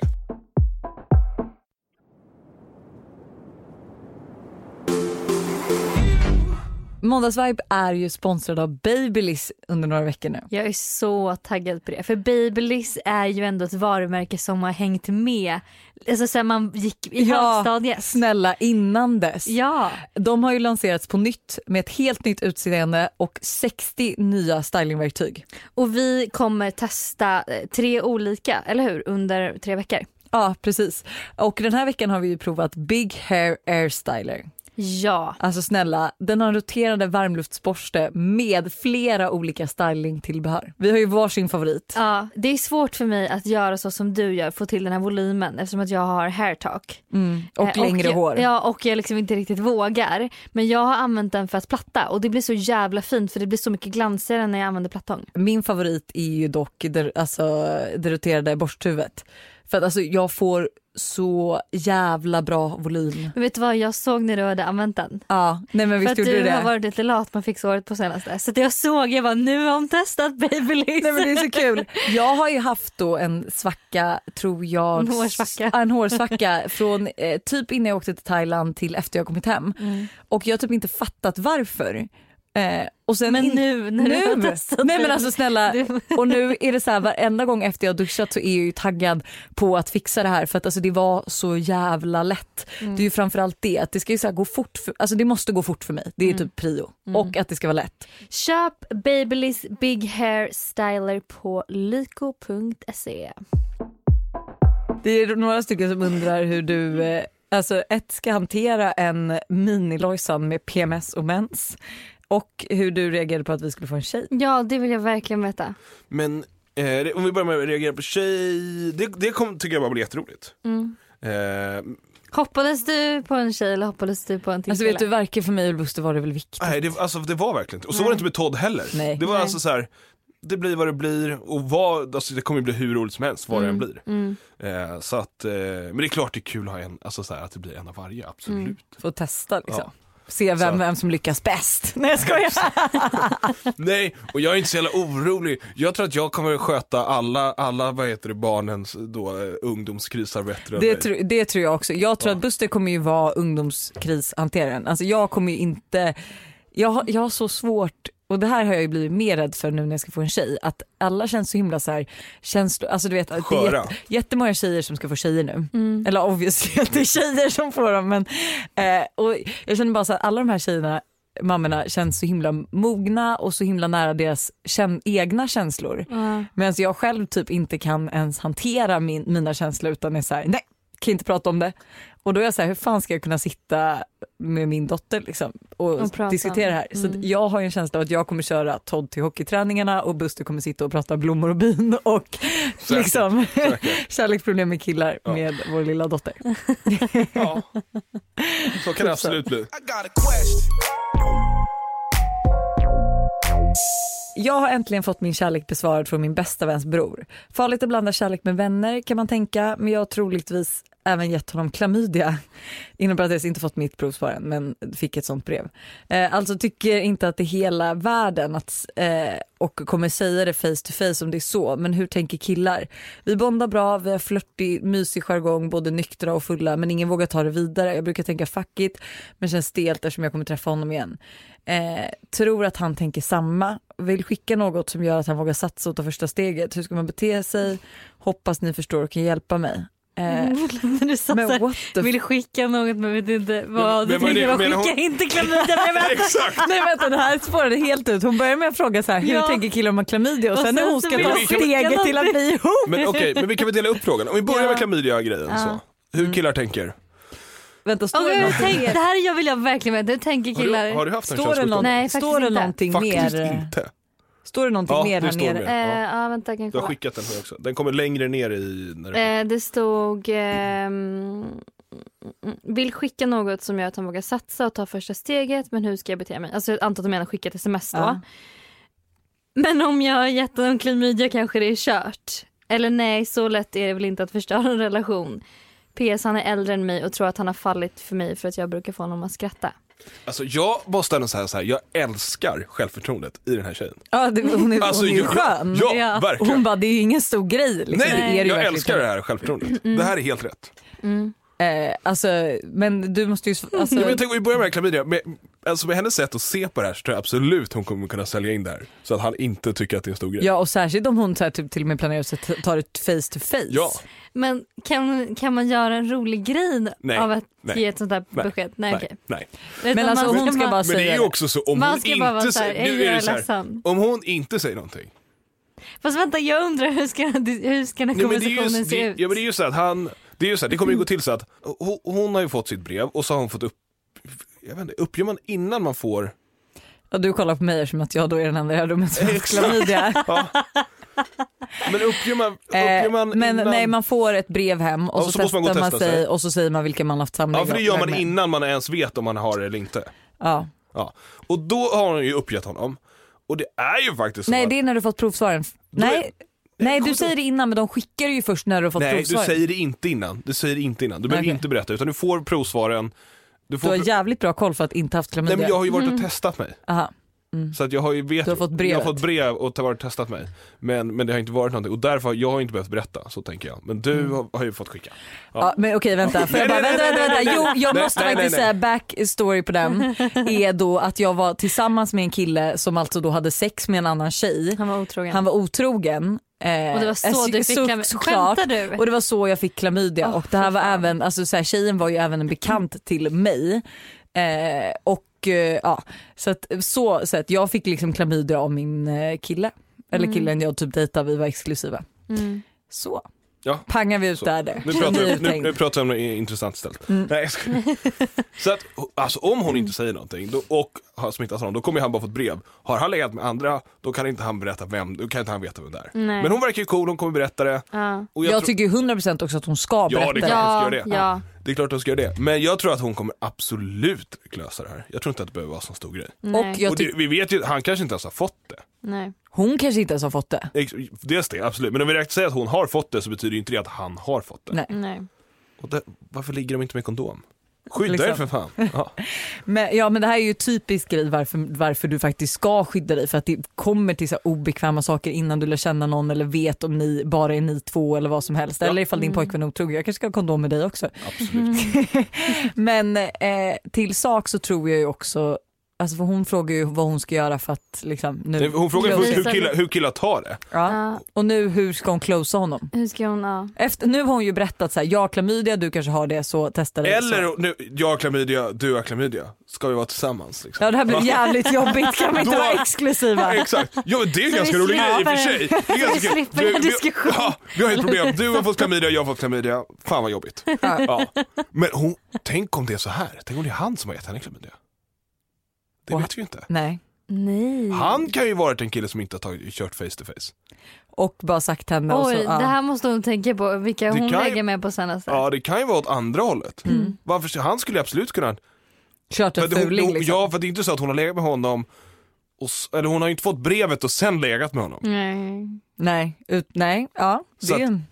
Speaker 1: Måndagsvibe är ju sponsrad av Babyliss under några veckor nu.
Speaker 3: Jag är så taggad på det. För Babyliss är ju ändå ett varumärke som har hängt med. Alltså sen man gick i
Speaker 1: Ja,
Speaker 3: högstadiet.
Speaker 1: Snälla innan dess.
Speaker 3: Ja,
Speaker 1: De har ju lanserats på nytt med ett helt nytt utseende och 60 nya stylingverktyg.
Speaker 3: och vi kommer testa eh, tre olika, eller hur? Under tre veckor.
Speaker 1: Ja precis. Och den här veckan har vi ju provat Big Hair Air Styler.
Speaker 3: Ja,
Speaker 1: Alltså snälla, den har en roterande varmluftsborste med flera olika stylingtillbehör. Vi har ju varsin favorit.
Speaker 3: Ja, det är svårt för mig att göra så som du gör, få till den här volymen eftersom att jag har hair talk.
Speaker 1: Mm. Och
Speaker 3: Eh,
Speaker 1: längre
Speaker 3: jag,
Speaker 1: hår.
Speaker 3: Ja, och jag liksom inte riktigt vågar. Men jag har använt den för att platta och det blir så jävla fint för det blir så mycket glansigare när jag använder plattång.
Speaker 1: Min favorit är ju dock det, alltså, det roterade borsthuvudet. För att alltså, jag får så jävla bra volym.
Speaker 3: Men vet du vad, jag såg när du hade använt den.
Speaker 1: Ja, nej men
Speaker 3: för
Speaker 1: visst
Speaker 3: att
Speaker 1: gjorde
Speaker 3: du
Speaker 1: du det.
Speaker 3: har varit lite lat man fick såret på senaste. Så att jag såg, jag bara nu har hon testat liksom. Babyliss.
Speaker 1: Nej men det är så kul. Jag har ju haft då en svacka, tror jag.
Speaker 3: En hårsvacka.
Speaker 1: Ja, En hårsvacka från eh, typ innan jag åkte till Thailand till efter jag kommit hem. Och jag har typ inte fattat varför. Eh, och sen
Speaker 3: Men
Speaker 1: in-
Speaker 3: nu när du har
Speaker 1: nu.
Speaker 3: testat
Speaker 1: Nej men
Speaker 3: den-
Speaker 1: alltså snälla,
Speaker 3: Du-
Speaker 1: och nu är det så här varenda gång efter jag har duschat så är jag ju taggad på att fixa det här för att alltså det var så jävla lätt. Det är ju framförallt det att det ska ju så här gå fort, för, alltså det måste gå fort för mig. Det är typ prio. Och att det ska vara lätt.
Speaker 3: Köp Babyliss Big Hair Styler på lyko.se.
Speaker 1: Det är några stycken som undrar hur du eh, alltså ett ska hantera en minilojsan med PMS och mens och hur du reagerade på att vi skulle få en tjej.
Speaker 3: Ja, det vill jag verkligen veta. Mm.
Speaker 2: Men eh, om vi börjar med att reagera på tjej, det, det kom, tycker jag bara blev jätteroligt. Eh,
Speaker 3: Hoppades du på en tjej eller hoppades du på en till
Speaker 1: Alltså
Speaker 3: kille?
Speaker 1: vet du, varken för mig eller Buster var det väl viktigt.
Speaker 2: nej, det, alltså, det var verkligen inte, och så var det inte med Todd heller.
Speaker 1: Typ. Nej.
Speaker 2: Det var
Speaker 3: Nej.
Speaker 2: alltså så här, det blir vad det blir och vad, alltså, det kommer ju bli hur roligt som helst vad det än blir.
Speaker 3: Mm.
Speaker 2: Eh, så att, eh, men det är klart det är kul att ha en, alltså så här, att det blir en av varje, absolut.
Speaker 1: För att testa liksom.
Speaker 2: Ja.
Speaker 1: Se vem,
Speaker 2: Så.
Speaker 1: vem som lyckas bäst. Nej jag skojar.
Speaker 2: Nej, och jag är inte så jävla orolig. Jag tror att jag kommer sköta alla, alla vad heter det, barnens då, eh, ungdomskrisar bättre än
Speaker 1: Det,
Speaker 2: dig.
Speaker 1: tro, det tror jag också. Jag tror
Speaker 2: Ja.
Speaker 1: att Buster kommer ju vara ungdomskrishanteraren. Alltså jag kommer ju inte, jag, har- jag har så svårt och det här har jag ju blivit mer rädd för nu när jag ska få en tjej. Att alla känns så himla så här, känslo, alltså du vet, att det är
Speaker 2: Sköra.
Speaker 1: jätte, jättemånga tjejer som ska få tjejer nu. Eller obviously att det är tjejer som får dem. Men, eh, och jag känner bara så att alla de här tjejerna, mammorna känns så himla mogna och så himla nära deras kän- egna känslor.
Speaker 3: Ja.
Speaker 1: Medan jag själv typ inte kan ens hantera min, mina känslor utan är så här, nej, kan inte prata om det. Och då är jag så här, hur fan ska jag kunna sitta med min dotter liksom och,
Speaker 3: Och prata. Mm.
Speaker 1: diskutera det här? Så att jag har ju en känsla av att jag kommer köra Todd till hockeyträningarna och Buster kommer sitta och prata blommor och bin och liksom
Speaker 2: säkert.
Speaker 1: kärleksproblem med killar
Speaker 2: Ja.
Speaker 1: med vår lilla dotter.
Speaker 2: Ja. Så kan det absolut bli.
Speaker 4: I got a question.
Speaker 1: Jag har äntligen fått min kärlek besvarad från min bästa väns bror. Farligt att blanda kärlek med vänner kan man tänka, men jag har troligtvis även gett honom klamydia. Inom parentes, inte fått mitt prov på än, men fick ett sånt brev. Eh, alltså tycker inte att det är hela världen att, eh, och kommer säga det face to face om det är så, men hur tänker killar? Vi bondar bra, vi har flörtig, mysig jargong, både nyktra och fulla, men ingen vågar ta det vidare. Jag brukar tänka fuck it, men känns stelt eftersom jag kommer träffa honom igen. Eh, tror att han tänker samma, vill skicka något som gör att han vågar satsa och ta första steget. Hur ska man bete sig? Hoppas ni förstår och kan hjälpa mig. Eh,
Speaker 3: du sa
Speaker 1: men
Speaker 3: såhär,
Speaker 1: what the
Speaker 3: vill skicka något men vet inte vad.
Speaker 2: Men-
Speaker 3: du
Speaker 2: men
Speaker 3: tänker
Speaker 2: vad
Speaker 3: bara
Speaker 2: det- menar
Speaker 3: skicka
Speaker 2: hon-
Speaker 3: inte klamydia men jag menar-
Speaker 2: Exakt!
Speaker 1: Nej vänta det här spårade helt ut. Hon börjar med att fråga så här, hur
Speaker 3: Ja.
Speaker 1: tänker killar om klamydia och
Speaker 3: Och
Speaker 1: sen när
Speaker 3: sen
Speaker 1: hon
Speaker 3: så
Speaker 1: ska
Speaker 3: vill
Speaker 1: ta
Speaker 2: hon skicka
Speaker 1: steget till att
Speaker 3: någonting.
Speaker 1: bli ihop.
Speaker 2: Men okej, men vi kan väl dela upp frågan. Om vi börjar
Speaker 3: Ja.
Speaker 2: med klamydia-grejen så.
Speaker 1: Mm.
Speaker 2: Hur killar tänker?
Speaker 1: Vänta
Speaker 3: Och
Speaker 1: står det
Speaker 3: hur
Speaker 1: någonting
Speaker 3: tänk,
Speaker 1: mer?
Speaker 3: det här jag vill jag verkligen veta. Hur tänker
Speaker 2: Har
Speaker 3: killar?
Speaker 2: du, har du haft en
Speaker 1: Står det, någon,
Speaker 2: könssjukdom?
Speaker 3: Nej, faktiskt
Speaker 1: står det
Speaker 3: inte.
Speaker 1: någonting
Speaker 2: Faktiskt
Speaker 1: mer? eh,
Speaker 2: inte.
Speaker 1: Står det någonting
Speaker 2: Ja,
Speaker 1: mer
Speaker 2: det
Speaker 1: här
Speaker 2: står
Speaker 1: nere?
Speaker 2: mer.
Speaker 3: Eh, ja vänta jag kan
Speaker 2: Du har
Speaker 3: kolla.
Speaker 2: skickat den här också. Den kommer längre ner i... När det...
Speaker 3: Eh, det stod ehm, vill skicka något som gör att han vågar satsa och ta första steget men hur ska jag bete mig? Alltså jag antar att de menar skicka ett sms då.
Speaker 1: Ja.
Speaker 3: Men om jag har gett honom klamydia kanske det är kört. Eller nej, så lätt är det väl inte att förstöra en relation. PS han är äldre än mig och tror att han har fallit för mig för att jag brukar få honom att skratta.
Speaker 2: Alltså jag måste ändå säga så här, jag älskar självförtroendet i den här tjejen.
Speaker 1: Ja, det, hon är,
Speaker 2: Alltså,
Speaker 1: hon är ju
Speaker 2: jag-
Speaker 1: skön.
Speaker 2: ja,
Speaker 1: Och
Speaker 2: verkligen.
Speaker 1: Hon bara, det är ju ingen stor grej. Liksom. det är det
Speaker 2: Nej,
Speaker 1: ju
Speaker 2: jag
Speaker 1: verkligen
Speaker 2: älskar det här självförtroendet. Det här är helt rätt. Mm.
Speaker 1: inte. Eh, alltså, men du måste ju... Alltså,
Speaker 2: Ja, men jag tänker, vi börjar med klamydia. Med, alltså med hennes sätt att se på det här så tror jag absolut hon kommer kunna sälja in det här. Så att han inte tycker att det är en stor grej.
Speaker 1: ja, och särskilt om hon så här, typ, till och med planerar att ta det face to face.
Speaker 2: Ja.
Speaker 3: Men kan, kan man göra en rolig grej
Speaker 2: Nej,
Speaker 3: av att
Speaker 2: nej,
Speaker 3: ge ett sånt där
Speaker 2: nej,
Speaker 3: besked? Nej,
Speaker 2: Nej,
Speaker 3: okej.
Speaker 2: nej.
Speaker 3: Vet du,
Speaker 1: Men alltså
Speaker 3: man-
Speaker 1: hon ska
Speaker 3: man-
Speaker 1: bara
Speaker 2: Men det är
Speaker 1: säga
Speaker 2: ju
Speaker 1: det.
Speaker 2: också så om
Speaker 3: Man
Speaker 2: hon
Speaker 3: ska bara vara
Speaker 2: inte
Speaker 3: så här,
Speaker 2: säger,
Speaker 3: "Hej,
Speaker 2: nu är
Speaker 3: jag
Speaker 2: det
Speaker 3: är
Speaker 2: så här,
Speaker 3: ledsen."
Speaker 2: om hon inte säger någonting.
Speaker 3: Fast vänta, jag undrar hur ska, hur ska den
Speaker 2: Nej, men
Speaker 3: här
Speaker 2: det, är ju,
Speaker 3: konversationen se
Speaker 2: det,
Speaker 3: ut?
Speaker 2: ja, men det är ju så att han, det är ju så här, det kommer ju gå till så att hon, hon har ju fått sitt brev och så har hon fått upp, jag vet inte, uppger man innan man får
Speaker 1: Och du kollar på mig som att jag då är den enda i det här rummet som har haft
Speaker 2: Exakt.
Speaker 1: klamydia.
Speaker 2: Ja. Men uppger man, uppger
Speaker 1: Eh,
Speaker 2: man
Speaker 1: men
Speaker 2: innan?
Speaker 1: nej man får ett brev hem och
Speaker 2: Ja,
Speaker 1: så,
Speaker 2: så måste
Speaker 1: testar
Speaker 2: man gå
Speaker 1: man,
Speaker 2: och testa
Speaker 1: sig,
Speaker 2: sig.
Speaker 1: och så säger man vilka man haft samlag
Speaker 2: ja, för det gör man
Speaker 1: med.
Speaker 2: innan man ens vet om man har det eller inte.
Speaker 1: Ja.
Speaker 2: Ja. Och då har hon ju uppgett honom. Och det är ju faktiskt så
Speaker 1: Nej
Speaker 2: att,
Speaker 1: det är när du fått provsvaren.
Speaker 2: är-
Speaker 1: Nej, nej du
Speaker 2: kommer
Speaker 1: säger det innan men de skickar det ju först när du har fått
Speaker 2: nej du
Speaker 1: provsvaren.
Speaker 2: säger det inte innan. Du säger det inte innan. Du behöver
Speaker 1: Okej.
Speaker 2: inte berätta utan du får provsvaren. Du
Speaker 1: Du
Speaker 2: får
Speaker 1: har
Speaker 2: pro-
Speaker 1: jävligt bra koll för att inte haft
Speaker 2: Nej
Speaker 1: klamydia.
Speaker 2: men jag har ju
Speaker 1: Mm.
Speaker 2: varit och testat mig.
Speaker 1: Aha.
Speaker 2: Så att jag har ju vet,
Speaker 1: Du har fått brevet.
Speaker 2: jag har fått brev och t- varit och testat mig. Men, men det har inte varit någonting och därför har jag inte behövt berätta, så tänker jag. Men
Speaker 1: Mm.
Speaker 2: du har, har ju fått skicka.
Speaker 1: Ja. men okej vänta, får jag bara,
Speaker 2: Nej, nej,
Speaker 1: vänta, vänta,
Speaker 2: nej,
Speaker 1: vänta.
Speaker 2: nej,
Speaker 1: Jo, jag
Speaker 2: nej,
Speaker 1: måste
Speaker 2: nej,
Speaker 1: faktiskt
Speaker 2: nej,
Speaker 1: säga backstory på den är då att jag var tillsammans med en kille som alltså då hade sex med en annan tjej.
Speaker 3: Han var otrogen.
Speaker 1: Han var otrogen. eh,
Speaker 3: och det var så
Speaker 1: eh,
Speaker 3: du fick
Speaker 1: så-
Speaker 3: klamydia.
Speaker 1: såklart.
Speaker 3: Skämtar du?
Speaker 1: Och det var så jag fick klamydia och det här var även, alltså så här, tjejen var ju även en bekant till mig. Eh, och eh, ja, så att, så, så att jag fick liksom klamydia av min eh, kille. Eller killen jag typ dejtade, vi var exklusiva.
Speaker 3: Mm.
Speaker 1: Så.
Speaker 2: Ja.
Speaker 1: pangar vi ut
Speaker 2: Så.
Speaker 1: där det.
Speaker 2: Nu pratar,
Speaker 1: Ni
Speaker 2: vi,
Speaker 1: är
Speaker 2: nu,
Speaker 1: tänkt.
Speaker 2: nu pratar vi om något intressant ställt.
Speaker 1: Mm.
Speaker 2: Nej, jag skojar. så att, alltså, om hon inte säger någonting då, och har smittats av honom, då kommer han bara få ett brev. Har han legat med andra, då kan inte han berätta vem, då kan inte han veta vem det är.
Speaker 3: Nej.
Speaker 2: Men hon verkar ju cool, hon kommer berätta det.
Speaker 3: Ja.
Speaker 2: Och
Speaker 1: Jag,
Speaker 2: tror-
Speaker 1: tycker ju 100% också att hon ska
Speaker 2: Ja,
Speaker 1: berätta
Speaker 2: det
Speaker 1: det.
Speaker 2: är klart.
Speaker 3: Ja,
Speaker 2: ska göra det.
Speaker 3: ja.
Speaker 2: det är klart hon ska göra det. Men jag tror att hon kommer absolut lösa det här. Jag tror inte att det behöver vara så stor grej.
Speaker 3: Nej.
Speaker 1: Och jag
Speaker 2: Och
Speaker 1: tycker
Speaker 2: det, vi vet ju att han kanske inte ens har fått det.
Speaker 3: Nej.
Speaker 1: hon kanske inte ens har fått det.
Speaker 2: Ex- Dels det, absolut. Men om vi räknar säger att hon har fått det så betyder ju inte det att han har fått det.
Speaker 1: Nej.
Speaker 3: Nej.
Speaker 2: Och det varför ligger de inte med kondom? Skydda er
Speaker 1: Liksom.
Speaker 2: för fan. Ja.
Speaker 1: Men, ja, men det här är ju typisk grej varför, varför du faktiskt ska skydda dig för att det kommer till så här obekväma saker innan du lär känna någon eller vet om ni bara är ni två eller vad som helst.
Speaker 2: Ja.
Speaker 1: Eller ifall din pojkvän är otrogen. Jag kanske ska ha kondom med dig också.
Speaker 2: Absolut.
Speaker 3: Mm,
Speaker 1: Men eh, till sak så tror jag ju också, alltså för hon frågar ju vad hon ska göra för att liksom
Speaker 2: Nej,
Speaker 1: nu,
Speaker 2: Hon frågar först
Speaker 3: Close.
Speaker 2: hur killar, hur killar tar det.
Speaker 1: ja.
Speaker 3: Ja.
Speaker 1: och nu hur ska hon closea honom?
Speaker 3: Hur ska hon... Ja.
Speaker 1: Efter, nu har hon ju berättat så här, jag har klamydia, du kanske har det så testa det. Så.
Speaker 2: Eller nu, jag har klamydia, du har klamydia. Ska vi vara tillsammans? Liksom?
Speaker 1: Ja det här blev jävligt jobbigt, kan vi inte
Speaker 2: Då-
Speaker 1: vara exklusiva?
Speaker 2: Exakt, ja, men det är en
Speaker 3: Så
Speaker 2: ganska
Speaker 3: vi
Speaker 2: rolig grej i och för sig.
Speaker 3: slipper-
Speaker 2: Det är ganska
Speaker 3: vi
Speaker 2: kul.
Speaker 3: slipper den
Speaker 2: vi-
Speaker 3: diskussionen.
Speaker 2: Ja, vi har ett problem, du har fått klamydia, jag har fått klamydia. Fan vad jobbigt. Ja. Men hon, tänk om det är så här, tänk om det är han som har gett henne klamydia. Det
Speaker 1: Och-
Speaker 2: vet vi ju inte.
Speaker 1: Nej.
Speaker 3: Nej.
Speaker 2: Han kan ju varit en kille som inte har tagit, kört face to face.
Speaker 1: Och bara sagt henne och så,
Speaker 3: Oj,
Speaker 1: ja.
Speaker 3: det här måste hon tänka på. Vilka
Speaker 2: Det
Speaker 3: hon
Speaker 2: kan ju-
Speaker 3: lägger med på senaste.
Speaker 2: Ja det kan ju vara åt andra hållet.
Speaker 1: Mm.
Speaker 2: Varför, han skulle ju absolut kunna
Speaker 1: kört en
Speaker 2: För att hon,
Speaker 1: fuling
Speaker 2: hon,
Speaker 1: liksom.
Speaker 2: Ja, för det är inte så att hon har legat med honom, och, s- eller hon har ju inte fått brevet och sen legat med honom.
Speaker 3: Nej.
Speaker 1: Nej, ut, nej, ja. Det
Speaker 2: Så
Speaker 1: är
Speaker 2: att-
Speaker 1: en...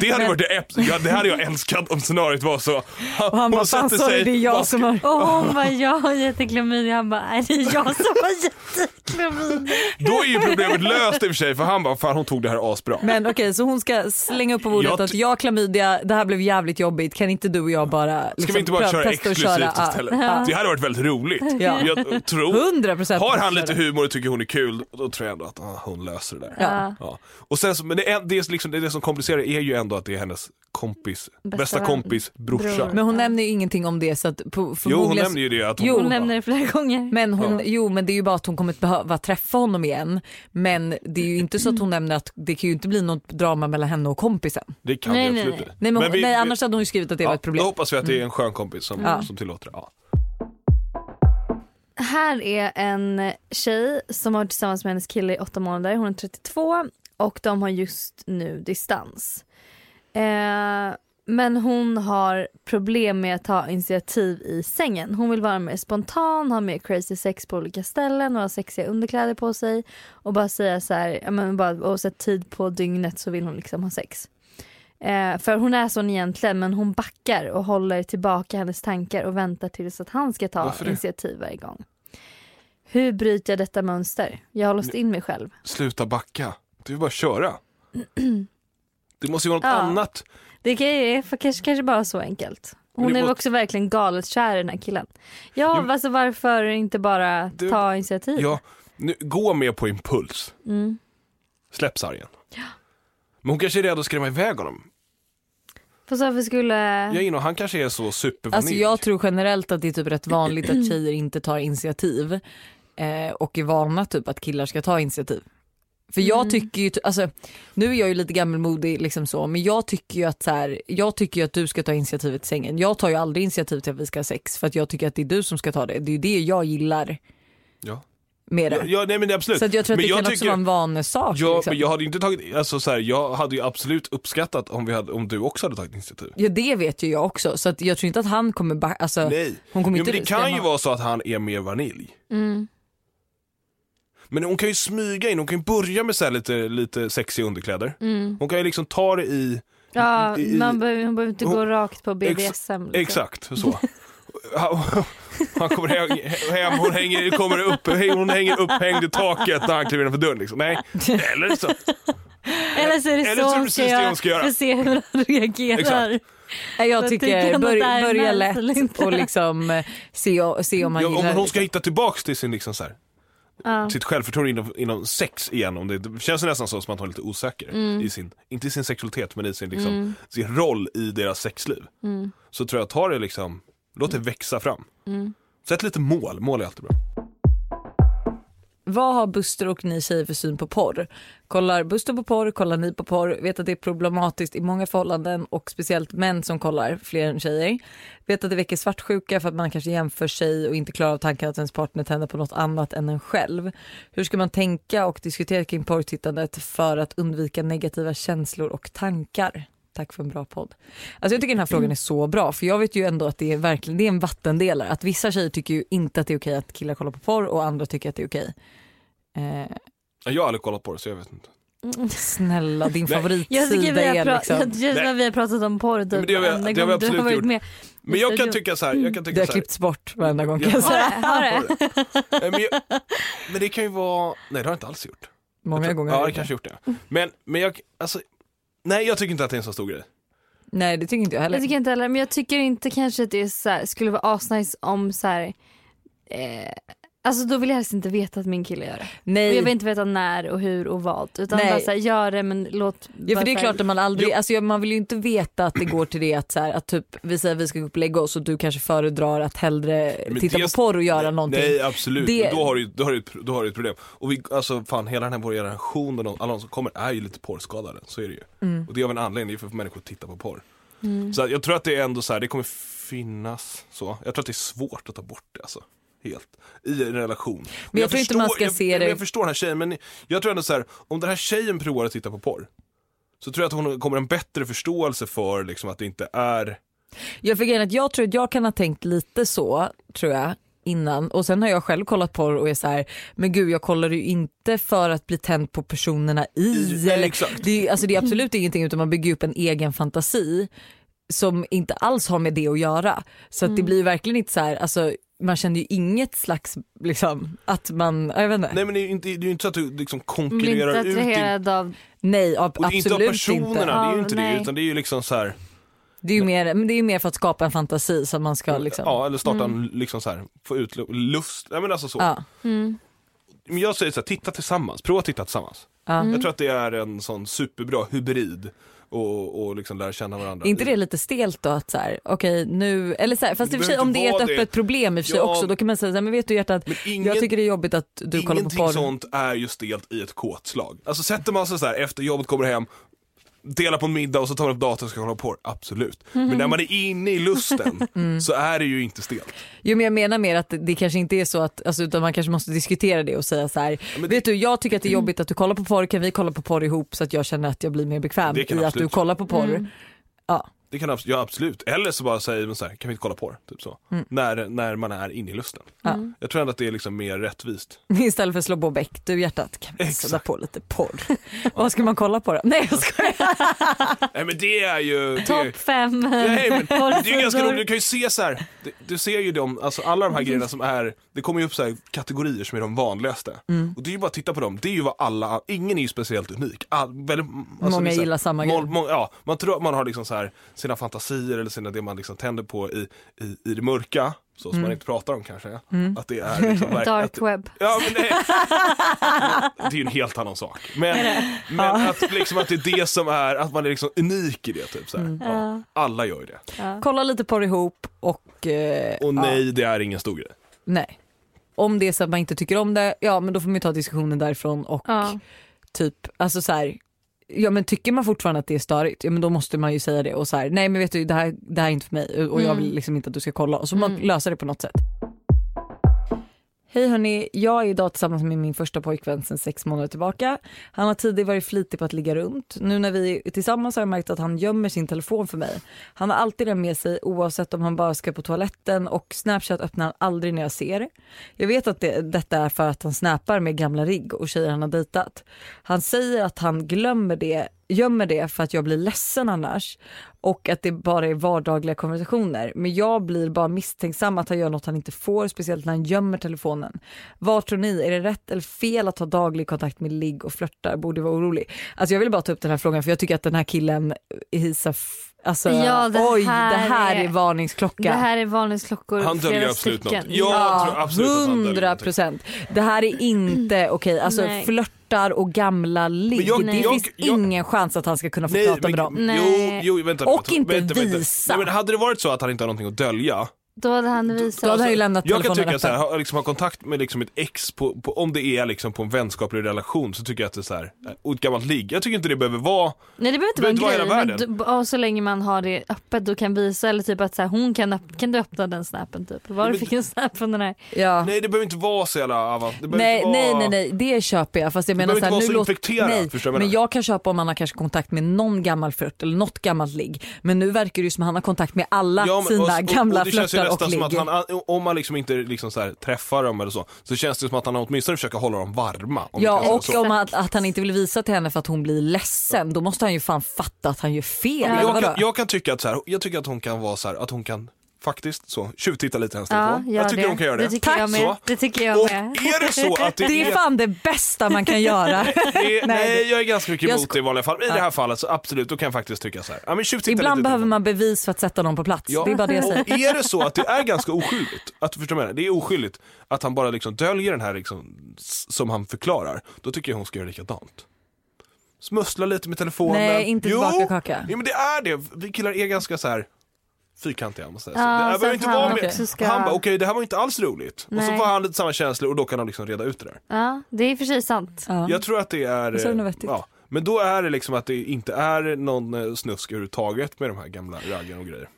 Speaker 2: Det hade
Speaker 1: Men-
Speaker 2: varit det, eps- ja, det hade jag älskat om scenariot var så.
Speaker 1: Och han bara, fan
Speaker 2: satte
Speaker 1: sorry, det är jag
Speaker 2: vad
Speaker 1: som har...
Speaker 3: Och hon bara, jag har jätteklamydia. Han bara, är det är jag som har jätteklamydia?
Speaker 2: Då är ju problemet löst i och för sig för han bara, fan hon tog det här asbra.
Speaker 1: Men okej, så hon ska slänga upp på bordet
Speaker 2: Jag ty-
Speaker 1: att jag har klamydia, det här blev jävligt jobbigt, kan inte du och jag bara liksom,
Speaker 2: Ska vi inte bara
Speaker 1: pröva-
Speaker 2: köra
Speaker 1: testa och
Speaker 2: exklusivt
Speaker 1: Ja.
Speaker 2: istället? Det hade varit väldigt roligt.
Speaker 1: Ja.
Speaker 2: Jag tror,
Speaker 1: 100 procent.
Speaker 2: har han lite humor och tycker hon är kul, då tror jag ändå att ah, hon löser det där.
Speaker 1: Ja.
Speaker 2: Ja. Och sen, så- men det, är, det, är liksom, det, är det som komplicerar det är ju ändå att det är hennes kompis,
Speaker 3: Bästa
Speaker 2: bästa,
Speaker 3: vän.
Speaker 2: kompis brorsa.
Speaker 3: Bror.
Speaker 1: Men hon nämner ju ingenting om det så att på,
Speaker 2: Jo hon
Speaker 1: förmodligen...
Speaker 2: nämner ju det att hon,
Speaker 1: Jo.
Speaker 3: Hon nämner det flera gånger.
Speaker 1: men hon,
Speaker 2: Ja.
Speaker 1: Jo men det är ju bara att hon kommer att behöva träffa honom igen. Men det är ju inte så att hon nämner att det kan ju inte bli något drama mellan henne och kompisen.
Speaker 2: Det kan
Speaker 3: Nej,
Speaker 2: vi
Speaker 3: nej,
Speaker 2: absolut
Speaker 3: nej.
Speaker 2: inte.
Speaker 1: Nej, men hon,
Speaker 2: vi-
Speaker 1: nej
Speaker 2: vi-
Speaker 1: annars hade hon ju skrivit att det var ett problem. Mm.
Speaker 2: Då hoppas vi att det är en skön kompis som,
Speaker 1: Ja.
Speaker 2: som tillåter det. Ja.
Speaker 3: Här är en tjej som har varit tillsammans med hennes kille i åtta månader. Hon är 32 och de har just nu distans. Eh, men hon har problem med att ta initiativ i sängen. Hon vill vara mer spontan, ha mer crazy sex på olika ställen och ha sexiga underkläder på sig. Och bara säga så här, ja, men bara, oavsett tid på dygnet så vill hon liksom ha sex. Eh, för hon är sån egentligen men hon backar och håller tillbaka hennes tankar och väntar tills att han ska ta
Speaker 2: Varför det?
Speaker 3: initiativ varje gång. Hur bryter jag detta mönster? Jag har låst in mig själv.
Speaker 2: Sluta backa. Du vill bara köra. Det måste ju vara något
Speaker 3: Ja.
Speaker 2: annat.
Speaker 3: Det kan ju- för kanske, kanske bara så enkelt.
Speaker 2: Men
Speaker 3: Hon
Speaker 2: det
Speaker 3: är
Speaker 2: måste-
Speaker 3: också verkligen galet kär i den här killen. Ja,
Speaker 2: Jo.
Speaker 3: alltså varför inte bara
Speaker 2: Du-
Speaker 3: ta initiativ?
Speaker 2: Ja, nu, gå med på impuls.
Speaker 3: Mm.
Speaker 2: Släpp sargen. Men hon kanske är rädd att skrämma iväg honom.
Speaker 3: Fast varför skulle...
Speaker 2: Jag är inne och han kanske är så supervanilj.
Speaker 1: Alltså jag tror generellt att det är typ rätt vanligt att tjejer inte tar initiativ eh, och är vana typ att killar ska ta initiativ. För jag
Speaker 3: Mm.
Speaker 1: tycker ju, alltså, nu är jag ju lite gammelmodig liksom så, men jag tycker ju att så här, jag tycker ju att du ska ta initiativet i sängen. Jag tar ju aldrig initiativ till att vi ska ha sex för att jag tycker att det är du som ska ta det. Det är ju det jag gillar
Speaker 2: Ja.
Speaker 1: med
Speaker 2: Ja,
Speaker 1: det.
Speaker 2: ja, nej men det är absolut.
Speaker 1: Så att jag tror att
Speaker 2: men
Speaker 1: det kan också vara en vanesak.
Speaker 2: Ja,
Speaker 1: liksom.
Speaker 2: men jag hade ju inte tagit, alltså så här, jag hade ju absolut uppskattat om, vi hade, om du också hade tagit initiativ.
Speaker 1: ja det vet ju jag också så att jag tror inte att han kommer ba- alltså,
Speaker 2: Nej.
Speaker 1: hon kommer
Speaker 2: Jo,
Speaker 1: inte
Speaker 2: men det kan
Speaker 1: skrämma-
Speaker 2: ju vara så att han är mer vanilj.
Speaker 3: Mm.
Speaker 2: Men hon kan ju smyga in, hon kan ju börja med så här lite, lite sexiga underkläder.
Speaker 3: Mm.
Speaker 2: Hon kan ju liksom ta det i,
Speaker 3: Ja,
Speaker 2: Mm, I- i-
Speaker 3: man behöver, hon behöver inte gå
Speaker 2: Hon-
Speaker 3: rakt på BDSM. liksom.
Speaker 2: exakt så. Han kommer hem, hem hon hänger, kommer upp, hon hänger upphängd i taket när han kliver innanför dörren liksom. Nej, eller så.
Speaker 3: Eller så är det
Speaker 2: Eller så är
Speaker 3: så
Speaker 2: det
Speaker 3: hon
Speaker 2: precis
Speaker 3: ska
Speaker 2: det hon
Speaker 3: göra
Speaker 2: ska göra.
Speaker 3: för att se hur han reagerar.
Speaker 1: Nej, Jag
Speaker 3: Vad
Speaker 1: tycker,
Speaker 3: tycker han att det
Speaker 1: börja,
Speaker 3: här är
Speaker 1: börja
Speaker 3: nice eller
Speaker 1: lätt
Speaker 3: inte?
Speaker 1: och liksom eh, se, o- se om man
Speaker 2: Ja,
Speaker 1: gillar
Speaker 2: om
Speaker 1: det.
Speaker 2: hon ska hitta tillbaks till sin liksom så här,
Speaker 3: Ja.
Speaker 2: sitt självförtroende inom, inom sex igen. Om det, det känns nästan så som att hon är lite osäker. I sin, inte i sin sexualitet men i sin, liksom,
Speaker 3: Mm.
Speaker 2: sin roll i deras sexliv. Så tror jag att ta det liksom,
Speaker 3: mm,
Speaker 2: låt det växa fram. Sätt lite mål, mål är alltid bra.
Speaker 1: Vad har Buster och ni tjejer för syn på porr? Kollar Buster på porr? Kollar ni på porr? Vet att det är problematiskt i många förhållanden och speciellt män som kollar fler än tjejer. Vet att det väcker svartsjuka för att man kanske jämför sig och inte klarar av tanken att ens partner tänder på något annat än en själv. Hur ska man tänka och diskutera kring porrtittandet för att undvika negativa känslor och tankar? Tack för en bra podd. Alltså jag tycker den här frågan är så bra för jag vet ju ändå att det är, verkligen, det är en vattendelare. Att vissa tjejer tycker ju inte att det är okej att killar kollar på porr och andra tycker att det är okej. Eh,
Speaker 2: Jag har aldrig kollat på det så jag vet inte.
Speaker 1: snälla din
Speaker 2: Nej.
Speaker 3: mm. Jag tycker
Speaker 1: favoritsida
Speaker 3: vi har,
Speaker 1: är
Speaker 3: pra-
Speaker 1: liksom.
Speaker 3: jag tycker
Speaker 2: Nej.
Speaker 3: när vi har pratat om porr typ
Speaker 2: men det har vi-
Speaker 3: varenda
Speaker 2: det har vi
Speaker 3: gång du
Speaker 2: absolut
Speaker 3: varit
Speaker 2: gjort.
Speaker 3: med.
Speaker 2: Men jag kan
Speaker 3: du-
Speaker 2: tycka så här, jag kan
Speaker 1: Det
Speaker 2: tycka
Speaker 1: har
Speaker 2: så här.
Speaker 1: klippts bort varenda gång kan
Speaker 2: Ja.
Speaker 1: jag
Speaker 3: Har
Speaker 1: säga.
Speaker 3: det? Har det?
Speaker 2: Nej, Men, jag, men det kan ju vara, nej det har jag inte alls gjort. Jag
Speaker 1: Många
Speaker 2: tror-
Speaker 1: gånger.
Speaker 2: Ja,
Speaker 1: har
Speaker 2: det
Speaker 1: jag
Speaker 2: kanske gjort det. Men, men jag, alltså, nej jag tycker inte att det är en så stor grej.
Speaker 1: gjort. Nej det tycker inte jag
Speaker 3: Jag
Speaker 1: heller.
Speaker 3: tycker inte heller, men jag tycker inte kanske att det är så här, skulle vara asnice om så här, eh, alltså då vill jag helst inte veta att min kille gör det. Och jag vill
Speaker 1: Nej.
Speaker 3: inte veta när och hur och vad utan
Speaker 1: Nej.
Speaker 3: bara så här, gör det men låt
Speaker 1: Ja,
Speaker 3: bara
Speaker 1: för det är
Speaker 3: så
Speaker 1: klart
Speaker 3: här,
Speaker 1: att man aldrig,
Speaker 2: Jo.
Speaker 1: alltså jag- man vill ju inte veta att det går till det att, så här, att typ, vi säger att vi ska gå upp och lägga oss och du kanske föredrar att hellre
Speaker 2: Men
Speaker 1: titta
Speaker 2: det-
Speaker 1: på porr och göra
Speaker 2: nej,
Speaker 1: någonting.
Speaker 2: Nej absolut,
Speaker 1: Det-
Speaker 2: Men då har du ju då har du, ett- då har du ett problem. Och vi, alltså fan hela den här vår generationen, och alla de som kommer är ju lite porrskadade, så är det ju.
Speaker 1: Mm.
Speaker 2: Och det är av en anledning, det är för att människor tittar på porr. Så att jag tror att det är ändå så här, det kommer finnas så. Jag tror att det är svårt att ta bort det alltså. Helt. I en relation. Men
Speaker 1: jag tror inte man ska
Speaker 2: jag,
Speaker 1: se det-
Speaker 2: Jag, jag förstår den här tjejen men jag tror ändå så här, om den här tjejen provar att titta på porr. Så tror jag att hon kommer ha en bättre förståelse för liksom att det inte är
Speaker 1: Jag fick att jag tror att jag kan ha tänkt lite så tror jag innan och sen har jag själv kollat porr och är så här men gud jag kollar ju inte för att bli tänd på personerna i,
Speaker 2: I- nej,
Speaker 1: eller,
Speaker 2: exakt.
Speaker 1: det, är, ju- alltså, det är absolut ingenting utan man bygger upp en egen fantasi som inte alls har med det att göra så
Speaker 2: Mm.
Speaker 1: att det blir ju verkligen inte så här alltså man känner ju inget slags liksom att man, jag vet inte, nej,
Speaker 2: Nej men det är ju inte, det är ju inte så att du liksom
Speaker 3: man blir
Speaker 2: konkurrerar
Speaker 3: inte
Speaker 2: ut din
Speaker 3: attraherad av
Speaker 1: ab-
Speaker 2: Och det är inte av
Speaker 1: absolut
Speaker 2: personerna,
Speaker 1: inte.
Speaker 2: det är ju inte
Speaker 3: Ja,
Speaker 2: det
Speaker 3: nej.
Speaker 2: utan det är ju liksom så här,
Speaker 1: Det är ju mer, men det är ju mer för att skapa en fantasi som man ska liksom,
Speaker 2: Mm. ja eller starta en liksom så här, få ut lu- lust, nej men alltså så.
Speaker 1: ja. Mm.
Speaker 2: Men jag säger så här, titta tillsammans, prova att titta tillsammans.
Speaker 1: Ja. Mm.
Speaker 2: Jag tror att det är en sån superbra hybrid och, och liksom lära känna varandra.
Speaker 1: Är inte det lite stelt då att så här, okej nu, eller så här, fast i och för sig om det är ett
Speaker 2: Behöver inte vara
Speaker 1: öppet
Speaker 2: det.
Speaker 1: problem i och för sig
Speaker 2: Ja.
Speaker 1: också då kan man säga så här, men vet du hjärtat,
Speaker 2: Men ingen-
Speaker 1: jag tycker det är jobbigt att du kollar på
Speaker 2: Ingenting
Speaker 1: porr.
Speaker 2: sånt är ju stelt i ett kåtslag. Alltså sätter man sig så här efter jobbet kommer hem, delar på en middag och så tar man upp datorn och ska kolla på porr, absolut.
Speaker 1: Mhm.
Speaker 2: Men när man är inne i lusten
Speaker 1: Mm.
Speaker 2: så är det ju inte stelt.
Speaker 1: Jo men jag menar mer att det, det kanske inte är så att, alltså, utan man kanske måste diskutera det och säga så här,
Speaker 2: men det-
Speaker 1: vet du jag tycker att det är jobbigt att du kollar på porr, kan vi kolla på porr ihop så att jag känner att jag blir mer bekväm i
Speaker 2: Det kan
Speaker 1: att du
Speaker 2: absolut.
Speaker 1: kollar på porr. Ja.
Speaker 2: Det kan abs- ja, absolut. Eller så bara säger man så här, kan vi inte kolla på det? Typ så.
Speaker 1: Mm.
Speaker 2: När, när man är inne i lusten. Jag tror ändå att det är liksom mer rättvist.
Speaker 1: Istället för att slå på bäck, du hjärtat kan vi sätta
Speaker 2: Exakt.
Speaker 1: på lite porr. Vad ska man kolla på då? Nej jag skojar.
Speaker 2: Nej men det är ju... det är-
Speaker 3: topp fem.
Speaker 2: Nej, men det är ju ganska
Speaker 3: porrsidor.
Speaker 2: roligt, du kan ju se så här. Du, du ser ju dem, alltså alla de här grejerna som är, det kommer ju upp så här kategorier som är de vanligaste. Och det är ju bara att titta på dem, det är ju vad alla, ingen är ju speciellt unik. All, väl, alltså
Speaker 1: Många
Speaker 2: det är så här-
Speaker 1: gillar samma
Speaker 2: mål-
Speaker 1: grej.
Speaker 2: många- ja, man tror att man har liksom så här, sina fantasier eller sina, det man liksom tänder på i, i, i det mörka, så som
Speaker 1: Mm.
Speaker 2: man inte pratar om kanske. Att det är liksom, verk-
Speaker 3: Dark
Speaker 2: att-
Speaker 3: web.
Speaker 2: Ja, men det, det är ju en helt annan sak. Men, men att, liksom, att det är det som är, att man är liksom unik i det. Typ, så här.
Speaker 1: Mm.
Speaker 2: Ja. Alla gör ju det.
Speaker 1: Kolla lite porr ihop och... Eh,
Speaker 2: Och
Speaker 1: ja.
Speaker 2: nej, det är ingen stor grej.
Speaker 1: Nej. Om det är så att man inte tycker om det, ja men då får man ju ta diskussionen därifrån och
Speaker 3: Ja.
Speaker 1: typ, alltså så här, ja men tycker man fortfarande att det är störigt, ja men då måste man ju säga det och så här, nej men vet du det här, det här är inte för mig och jag vill liksom inte att du ska kolla och så man löser det på något sätt. Hej hörni, jag är idag tillsammans med min första pojkvän sedan sex månader tillbaka. Han har tidigare varit flitig på att ligga runt. Nu när vi är tillsammans har jag märkt att han gömmer sin telefon för mig. Han har alltid den med sig oavsett om han bara ska på toaletten och Snapchat öppnar han aldrig när jag ser. Jag vet att det, detta är för att han snappar med gamla rigg och tjejer han har dejtat. Han säger att han glömmer det gömmer det för att jag blir ledsen annars och att det bara är vardagliga konversationer. Men jag blir bara misstänksam att han gör något han inte får, speciellt när han gömmer telefonen. Vad tror ni, är det rätt eller fel att ha daglig kontakt med ligg och flörtar? Borde vara orolig. Alltså jag vill bara ta upp den här frågan för jag tycker att den här killen hisar f- Alltså,
Speaker 3: Ja, det
Speaker 1: oj,
Speaker 3: här
Speaker 1: det här är,
Speaker 3: är-
Speaker 1: varningsklocka.
Speaker 3: Det här är varningsklockor.
Speaker 2: Han döljer
Speaker 3: flera
Speaker 2: absolut något.
Speaker 3: stycken.
Speaker 2: Ja. Jag tror absolut att han döljer
Speaker 1: 100
Speaker 2: någonting.
Speaker 1: procent. Det här är inte okej. Alltså
Speaker 3: Mm. Nej.
Speaker 1: flörtar och gamla ligg.
Speaker 2: jag-
Speaker 1: det
Speaker 2: jag-
Speaker 1: finns
Speaker 2: jag-
Speaker 1: ingen chans att han ska kunna få prata med dem.
Speaker 2: Jo,
Speaker 3: Nej.
Speaker 2: jo, vänta,
Speaker 1: Och
Speaker 2: vänta,
Speaker 1: inte
Speaker 2: vänta, vänta.
Speaker 1: visa.
Speaker 2: Nej, men hade det varit så att han inte har någonting att dölja,
Speaker 3: Då hade han visat.
Speaker 1: Då hade han ju lämnat
Speaker 2: Jag kan
Speaker 1: telefonen
Speaker 2: tycka så här,
Speaker 1: öppen.
Speaker 2: ha, liksom, ha kontakt med liksom ett ex, på, på, om det är liksom på en vänskaplig relation så tycker jag att det är så här, eh, och ett gammalt ligg. Jag tycker inte det behöver vara,
Speaker 3: Nej det behöver inte vara en
Speaker 2: Behöver inte
Speaker 3: grej.
Speaker 2: vara hela
Speaker 3: men du, och så länge man har det öppet då kan visa eller typ att så här, hon kan, öpp- kan du öppna den snappen typ. Var du
Speaker 2: men-
Speaker 3: fick en snap från den här.
Speaker 1: Ja.
Speaker 2: nej det behöver inte vara så jävla avancerat. Det behöver
Speaker 1: Nej,
Speaker 2: inte
Speaker 1: nej,
Speaker 2: vara-
Speaker 1: nej, nej, det köper jag. Fast jag menar
Speaker 2: behöver
Speaker 1: så här,
Speaker 2: inte vara
Speaker 1: nu låter-
Speaker 2: så infekterad, förstår jag vad jag
Speaker 1: men
Speaker 2: menar?
Speaker 1: jag kan köpa om han har kanske kontakt med någon gammal flört eller något gammalt ligg. Men nu verkar det ju som att han har kontakt med alla
Speaker 2: Ja, men-
Speaker 1: sina
Speaker 2: och- och-
Speaker 1: gamla
Speaker 2: och det känns ju
Speaker 1: flörtar och
Speaker 2: nästan som att
Speaker 1: ligg.
Speaker 2: han, Om man liksom inte liksom så här, träffar dem eller så, så känns det som att han åtminstone försöker hålla dem varma. Om det
Speaker 1: Ja
Speaker 2: kan
Speaker 1: och
Speaker 2: säga så.
Speaker 1: om han, att han inte vill visa till henne för att hon blir ledsen då måste han ju fan fatta att han gör fel.
Speaker 3: Ja, men
Speaker 1: eller
Speaker 2: jag,
Speaker 1: vadå?
Speaker 2: kan, jag kan tycka att så här, jag tycker att hon kan vara så här, att hon kan faktiskt så tjuvtitta lite i hennes
Speaker 3: Ja,
Speaker 2: telefon.
Speaker 3: gör
Speaker 2: Jag tycker
Speaker 3: det.
Speaker 2: hon kan göra det.
Speaker 3: tycker jag med.
Speaker 2: Så.
Speaker 3: Det tycker jag
Speaker 2: Och
Speaker 3: med.
Speaker 2: är det så att det,
Speaker 1: Det är
Speaker 2: är
Speaker 1: fan det bästa man kan göra.
Speaker 2: Det är, nej,
Speaker 1: Nej,
Speaker 2: jag är ganska mycket
Speaker 1: Jag
Speaker 2: emot
Speaker 1: sko-
Speaker 2: det i vanliga fall. I det här fallet så absolut, då kan jag faktiskt tycka så här. Ja, men tjuvtitta
Speaker 1: Ibland
Speaker 2: lite
Speaker 1: behöver
Speaker 2: till.
Speaker 1: man bevis för att sätta någon på plats.
Speaker 2: Ja.
Speaker 1: Det är bara det jag säger.
Speaker 2: Och är det så att det är ganska oskyldigt, att du förstår vad jag menar? det är oskyldigt att han bara liksom döljer den här liksom, s- som han förklarar, då tycker jag hon ska göra likadant. Smussla lite med telefonen.
Speaker 1: Nej, inte
Speaker 2: jo,
Speaker 1: tillbaka kaka.
Speaker 2: Jo men det är det, vi killar är ganska så här fyrkantiga måste jag säga.
Speaker 3: Ja,
Speaker 2: det här
Speaker 3: så
Speaker 2: behöver
Speaker 3: att
Speaker 2: inte
Speaker 3: han
Speaker 2: vara med.
Speaker 3: också ska-
Speaker 2: Han bara okej det här var inte alls roligt. Och
Speaker 3: Nej.
Speaker 2: så får han lite samma känslor och då kan han liksom reda ut det där.
Speaker 3: Ja det är i och för sig sant.
Speaker 1: Ja.
Speaker 2: Jag tror att det är...
Speaker 1: Och så är det nog
Speaker 2: eh,
Speaker 1: vettigt.
Speaker 2: ja. Men då är det liksom att det inte är någon eh, snusk överhuvudtaget med de här gamla raggen och grejer.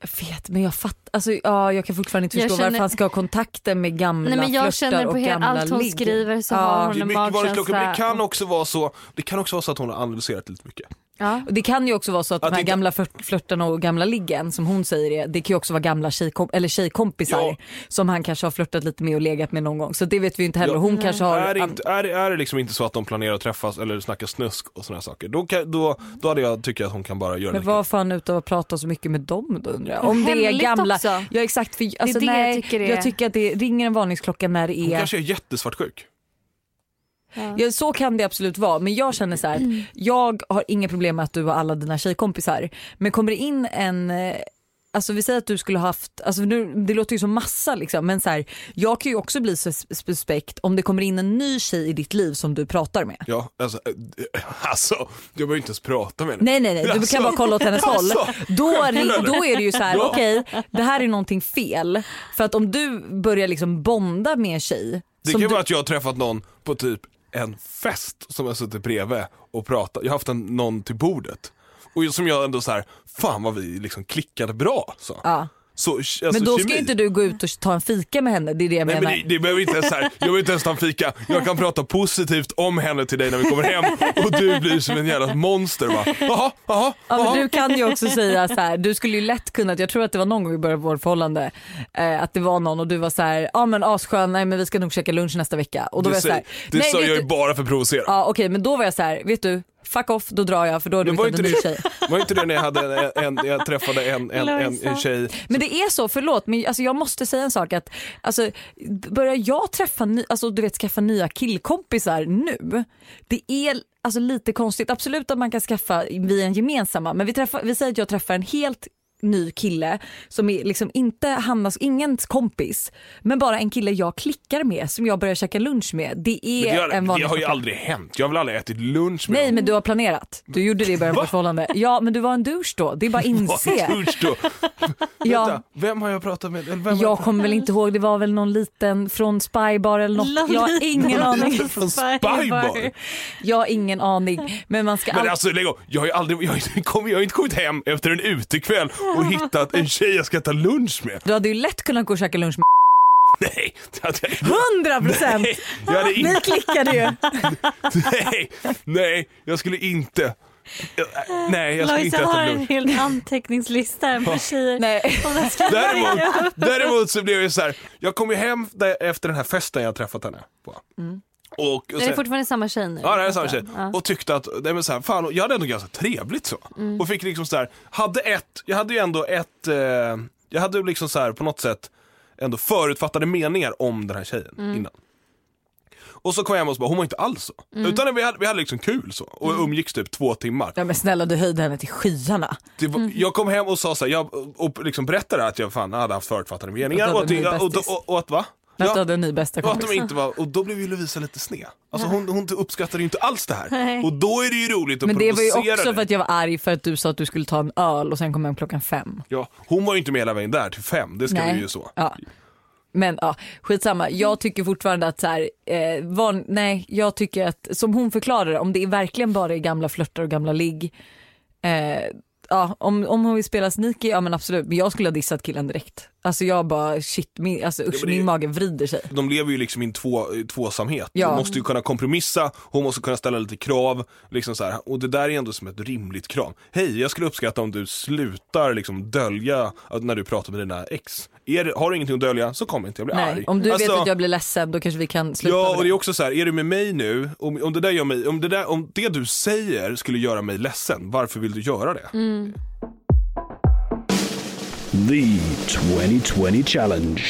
Speaker 1: Jag vet men jag fattar, alltså, ja, jag kan fortfarande inte
Speaker 3: Jag
Speaker 1: förstå
Speaker 3: känner-
Speaker 1: varför han ska ha kontakter med gamla
Speaker 3: Nej men jag
Speaker 1: flörtar
Speaker 3: känner på
Speaker 1: och
Speaker 3: hela
Speaker 1: gamla
Speaker 3: allt hon
Speaker 1: ligg.
Speaker 3: skriver så
Speaker 1: Ja.
Speaker 3: har
Speaker 2: Det
Speaker 3: hon
Speaker 2: är
Speaker 3: en
Speaker 2: mycket varningsklockor men det
Speaker 3: magkänsla.
Speaker 2: kan också vara så, det kan också vara så att hon har analyserat lite mycket.
Speaker 3: Ja.
Speaker 1: Och Det kan ju också vara så att,
Speaker 2: Att
Speaker 1: de här
Speaker 2: inte-
Speaker 1: gamla flört- flörtarna och gamla liggen som hon säger det, det kan ju också vara gamla tjejkom- eller tjejkompisar
Speaker 2: Ja.
Speaker 1: som han kanske har flörtat lite med och legat med någon gång. Så det vet vi ju inte heller.
Speaker 2: Ja.
Speaker 1: Hon kanske har...
Speaker 2: Är, det inte, är, det- är det liksom inte så att de planerar att träffas eller snacka snusk och sådana saker, då, kan, då, då hade jag tyckt att hon kan bara göra
Speaker 1: Men
Speaker 2: det.
Speaker 1: vad fan utav att prata så mycket med dem då undrar jag. Om det är
Speaker 3: Hemligt
Speaker 1: gamla...
Speaker 3: också.
Speaker 1: Ja exakt för alltså,
Speaker 3: det jag
Speaker 1: nej,
Speaker 3: tycker det är.
Speaker 1: jag tycker att det ringer en varningsklocka när det
Speaker 2: Hon
Speaker 1: är...
Speaker 2: kanske är jättesvartsjuk.
Speaker 1: Ja, så kan det absolut vara men jag känner så här att jag har inga problem med att du och alla dina tjejkompisar men kommer det in en eh, Alltså vi säger att du skulle ha haft, alltså nu, det låter ju som massa liksom, men så här, jag kan ju också bli sus- suspekt om det kommer in en ny tjej i ditt liv som du pratar med.
Speaker 2: Ja, alltså, eh, alltså du behöver inte ens prata med henne.
Speaker 1: Nej nej nej, du
Speaker 2: Alltså.
Speaker 1: kan bara kolla åt hennes håll.
Speaker 2: Alltså.
Speaker 1: Då, är det- då är det ju så här,
Speaker 2: Ja.
Speaker 1: okej det här är någonting fel. För att om du börjar liksom bonda med en tjej.
Speaker 2: Det
Speaker 1: som
Speaker 2: kan ju
Speaker 1: du-
Speaker 2: vara att jag har träffat någon på typ en fest som jag suttit bredvid och pratat, jag har haft en, någon till bordet. Och som jag ändå så här, fan vad vi liksom klickade bra. Så.
Speaker 1: ja.
Speaker 2: Så, alltså,
Speaker 1: Men då ska
Speaker 2: kemi.
Speaker 1: ju inte du gå ut och ta en fika med henne, det är det jag
Speaker 2: Nej
Speaker 1: menar.
Speaker 2: men det, det behöver inte ens så här, jag behöver inte ens ta en fika, jag kan prata positivt om henne till dig när vi kommer hem och du blir som en jävla monster va. Jaha, jaha,
Speaker 1: Ja, men
Speaker 2: jaha.
Speaker 1: du kan ju också säga så här, du skulle ju lätt kunnat, jag tror att det var någon gång i början av vårt förhållande, eh, att det var någon och du var så här, ja men asskön, nej men vi ska nog käka lunch nästa vecka. Och då var
Speaker 2: Det
Speaker 1: jag så
Speaker 2: säger-
Speaker 1: här,
Speaker 2: det
Speaker 1: nej
Speaker 2: sa
Speaker 1: vet
Speaker 2: jag ju
Speaker 1: du,
Speaker 2: bara för att provocera.
Speaker 1: ja okej men då var jag så här, vet du, fuck off, då drar jag för då har du
Speaker 2: Men var
Speaker 1: hittat
Speaker 2: inte,
Speaker 1: en ny tjej.
Speaker 2: det, var inte det när jag, hade en, en, jag träffade en, en, en, en
Speaker 3: Lojsan.
Speaker 2: tjej
Speaker 1: Men det är så, förlåt men alltså, jag måste säga en sak att alltså, börjar jag träffa, ny, alltså, du vet skaffa nya killkompisar nu, det är alltså, lite konstigt. Absolut att man kan skaffa via en gemensamma men vi, träffar, vi säger att jag träffar en helt ny kille som är liksom inte Hannas, ingens kompis men bara en kille jag klickar med som jag börjar käka lunch med. Det är
Speaker 2: Men det,
Speaker 1: en
Speaker 2: har, det
Speaker 1: vanlig
Speaker 2: har ju
Speaker 1: sak.
Speaker 2: aldrig hänt. Jag har väl aldrig ätit lunch med
Speaker 1: Nej
Speaker 2: någon.
Speaker 1: men du har planerat. Du gjorde det i början på
Speaker 2: Va?
Speaker 1: vårt förhållande. Ja men du var en douche då, det är bara att inse.
Speaker 2: Vad dusch då.
Speaker 1: Ja.
Speaker 2: Vänta, vem har jag pratat med? Eller vem har
Speaker 1: Jag kommer väl inte ihåg, det var väl någon liten från Spybar eller något. Jag har ingen aning.
Speaker 2: jag från Spybar?
Speaker 1: Jag har ingen aning. Men man ska
Speaker 2: Men
Speaker 1: alltid...
Speaker 2: alltså lägg av, jag har ju aldrig, jag har inte kommit, jag har inte kommit hem efter en utekväll och hittat en tjej jag ska ta lunch med.
Speaker 1: Du hade ju lätt kunnat gå och käka lunch med
Speaker 2: Nej, det hade jag inte.
Speaker 1: 100 procent!
Speaker 2: Nej, jag hade
Speaker 1: Ni
Speaker 2: inte,
Speaker 1: klickade ju.
Speaker 2: nej, nej, jag skulle inte. Jag- Nej, jag skulle inte
Speaker 3: Lojsan har
Speaker 2: äta
Speaker 3: en
Speaker 2: lunch.
Speaker 3: hel anteckningslista här med tjejer.
Speaker 1: Nej.
Speaker 3: Och där ska
Speaker 2: Däremot, däremot så blev jag så här. jag kom ju hem där, efter den här festen jag träffat henne på. Och, och
Speaker 3: Mm. Är det
Speaker 2: sen-
Speaker 3: fortfarande samma tjej nu?
Speaker 2: Ja det här är samma tjej.
Speaker 3: Ja.
Speaker 2: Och tyckte att, nej men så här, fan, jag hade ändå ganska trevligt så.
Speaker 3: Mm.
Speaker 2: Och fick liksom så här, hade ett, jag hade ju ändå ett, eh, jag hade ju liksom så här på något sätt ändå förutfattade meningar om den här tjejen
Speaker 3: Mm.
Speaker 2: innan. Och så kom jag hem och så bara, hon var inte alls så.
Speaker 3: Mm.
Speaker 2: Utan vi hade, vi hade liksom kul så. Och umgicks typ två timmar.
Speaker 1: Ja men snälla du höjde henne till skyarna.
Speaker 2: Det var,
Speaker 1: Mm.
Speaker 2: Jag kom hem och sa så här, jag, och liksom berättade att jag fan hade haft förutfattade meningar.
Speaker 1: Och då
Speaker 2: Och att,
Speaker 1: blev ni
Speaker 2: jag, och,
Speaker 1: bästis.
Speaker 2: och, och att va?
Speaker 1: Att
Speaker 2: Ja.
Speaker 1: du hade en ny bästa
Speaker 2: Och, att
Speaker 1: kompis.
Speaker 2: de inte var, och då blev ju Lovisa lite sned. Alltså hon, hon uppskattade ju inte alls det här.
Speaker 3: Nej.
Speaker 2: Och då är det ju roligt att
Speaker 1: Men det var ju
Speaker 2: provocera
Speaker 1: också
Speaker 2: dig.
Speaker 1: för att jag var arg för att du sa att du skulle ta en öl och sen kom hem klockan fem.
Speaker 2: Ja, hon var ju inte med hela vägen där till fem, det ska
Speaker 1: Nej.
Speaker 2: vi ju så.
Speaker 1: Ja. Men ja, skitsamma. Jag tycker fortfarande att så här, eh, van, nej, jag tycker att som hon förklarade om det är verkligen bara är gamla flörtar och gamla ligg. Eh, ja, om, om hon vill spela sneaky, ja men absolut. Men jag skulle ha dissat killen direkt. Alltså jag bara shit, min, alltså, usch,
Speaker 2: men det-
Speaker 1: min mage vrider sig.
Speaker 2: De lever ju liksom i en två, tvåsamhet.
Speaker 1: Ja.
Speaker 2: Hon måste ju kunna kompromissa, hon måste kunna ställa lite krav. Liksom så här. Och det där är ändå som ett rimligt krav. Hej, jag skulle uppskatta om du slutar liksom dölja att när du pratar med dina ex. Är, det- har du ingenting att dölja så kom inte, jag blir
Speaker 1: Nej,
Speaker 2: arg.
Speaker 1: om du
Speaker 2: Alltså,
Speaker 1: vet att jag blir ledsen då kanske vi kan sluta
Speaker 2: Ja,
Speaker 1: med
Speaker 2: och det är också så här, är du med mig nu, om, om, det där gör mig, om, det där, om det du säger skulle göra mig ledsen, varför vill du göra det?
Speaker 1: Mm.
Speaker 4: The 2020 Challenge.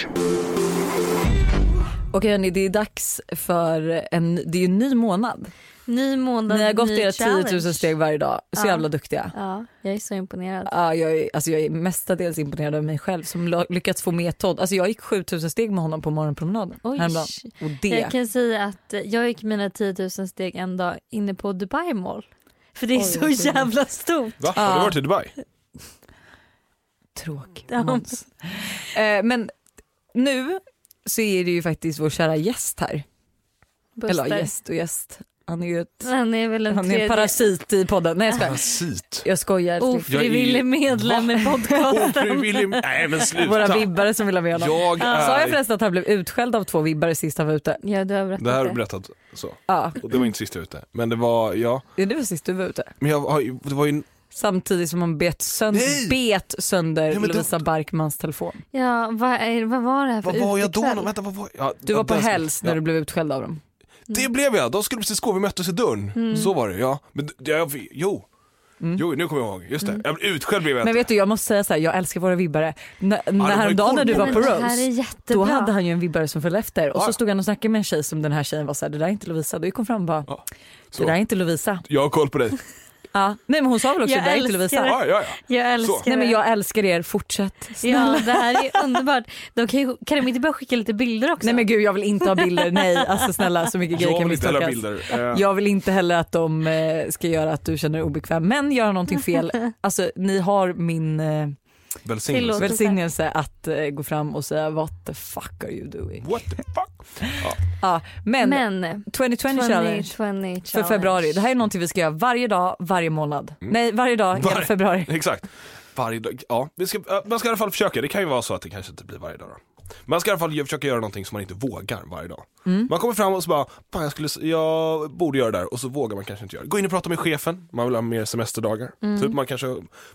Speaker 1: Okej hörni, det är dags för en, det är ju en ny månad.
Speaker 3: Ny månad,
Speaker 1: Ni har gått
Speaker 3: ny
Speaker 1: era 10 000
Speaker 3: challenge.
Speaker 1: steg varje dag, så
Speaker 3: Ja.
Speaker 1: jävla duktiga.
Speaker 3: Ja, jag är så imponerad.
Speaker 1: Ja, jag, är, alltså jag är mestadels imponerad av mig själv som lo- lyckats få med Todd. Alltså jag gick 7000 steg med honom på morgonpromenaden
Speaker 3: Oj.
Speaker 1: häromdagen. Och det,
Speaker 3: Jag kan säga att jag gick mina 10 000 steg en dag inne på Dubai Mall. För det är så jävla stort.
Speaker 2: Va? Har du
Speaker 1: Ja.
Speaker 2: varit i Dubai?
Speaker 1: tråkigt
Speaker 3: Ja.
Speaker 1: Måns. Eh, men nu så är det ju faktiskt vår kära gäst här.
Speaker 3: Buster.
Speaker 1: Eller gäst och gäst. Han är ju ett,
Speaker 3: Han är väl en
Speaker 1: han är en
Speaker 3: tredje
Speaker 1: parasit i podden. Nej jag skojar.
Speaker 2: Parasit.
Speaker 1: Jag skojar. älskling.
Speaker 2: Jag är-
Speaker 3: ofrivillig medlem i podcasten.
Speaker 2: Ofrivillig... Nej men sluta.
Speaker 1: Våra vibbare som vill ha med honom.
Speaker 2: Jag är...
Speaker 1: Sa jag förresten att han blev utskälld av två vibbare sist han var ute?
Speaker 3: Ja, du har berättat
Speaker 2: Det här har du
Speaker 3: det.
Speaker 2: berättat så.
Speaker 1: Ja,
Speaker 2: Och det var inte sist jag var ute. Men det var, ja.
Speaker 1: är det var sist du var ute?
Speaker 2: Men jag har ju- det var ju...
Speaker 1: Samtidigt som han bet sönder,
Speaker 2: Nej!
Speaker 1: bet sönder
Speaker 2: Nej, men det-
Speaker 1: Lovisa Barkmans telefon.
Speaker 3: Ja, vad, är, vad var det här för
Speaker 2: Vad var jag då?
Speaker 3: utekväll?
Speaker 2: någon- Vänta, vad var jag? Ja,
Speaker 1: Du var
Speaker 2: ja,
Speaker 1: på
Speaker 2: den-
Speaker 1: Hells när
Speaker 2: ja.
Speaker 1: du blev utskälld av dem.
Speaker 2: Det blev jag. De skulle precis gå, vi möttes i dörren.
Speaker 1: Mm.
Speaker 2: Så var det, ja. Men det- jag, jo. Jo, nu kommer jag ihåg. Just det. Jag blev utskälld blev jag
Speaker 1: Mm. Men
Speaker 2: inte.
Speaker 1: vet du, jag måste säga så här, jag älskar våra vibbare. N- när häromdagen när du var
Speaker 3: Men
Speaker 1: på
Speaker 3: det här
Speaker 1: Rose,
Speaker 3: är jättebra.
Speaker 1: då hade han ju en vibbare som följde efter och så
Speaker 2: Ja.
Speaker 1: stod han och snackade med en tjej som den här tjejen var så här, det där är inte Lovisa. Då gick hon fram och bara,
Speaker 2: Ja,
Speaker 1: det
Speaker 2: så.
Speaker 1: där är inte Lovisa.
Speaker 2: Jag har koll på dig.
Speaker 1: Ja. Nej men hon sa väl också,
Speaker 3: Jag
Speaker 1: det där är inte
Speaker 3: älskar
Speaker 1: Lovisa.
Speaker 3: det.
Speaker 2: Ja, ja, ja.
Speaker 3: Jag älskar
Speaker 2: Så.
Speaker 1: Nej men
Speaker 3: det.
Speaker 1: jag älskar er, fortsätt.
Speaker 3: Ja, det här är underbart. De kan, ju, kan de inte bara skicka lite bilder också?
Speaker 1: Nej men gud jag vill inte ha bilder, nej alltså snälla så mycket grejer
Speaker 2: Jag
Speaker 1: kan
Speaker 2: vill inte heller ha
Speaker 1: misstolkas.
Speaker 2: bilder. Eh,
Speaker 1: Jag vill inte heller att de eh, ska göra att du känner dig obekväm men göra någonting fel. Alltså ni har min eh,
Speaker 2: Välsignelse.
Speaker 3: Tillåt.
Speaker 1: välsignelse att eh, gå fram och säga what the fuck are you doing?
Speaker 2: What the fuck?
Speaker 1: Ja, men,
Speaker 3: men
Speaker 1: 2020 challenge
Speaker 3: 2020
Speaker 1: för
Speaker 3: challenge.
Speaker 1: februari. Det här är någonting vi ska göra varje dag, varje månad.
Speaker 2: Mm.
Speaker 1: Nej, varje dag hela
Speaker 2: Varje-
Speaker 1: februari.
Speaker 2: Exakt. Varje dag. Ja, vi ska, eh, man ska i alla fall försöka. Det kan ju vara så att det kanske inte blir varje dag. Då. Man ska i alla fall ju försöka göra någonting som man inte vågar varje dag.
Speaker 1: Mm.
Speaker 2: Man kommer fram och så bara, Fan, jag, skulle, s- jag borde göra det där och så vågar man kanske inte göra det. Gå in och prata med chefen, man vill ha mer semesterdagar.
Speaker 1: Mm.
Speaker 2: Typ man, kanske,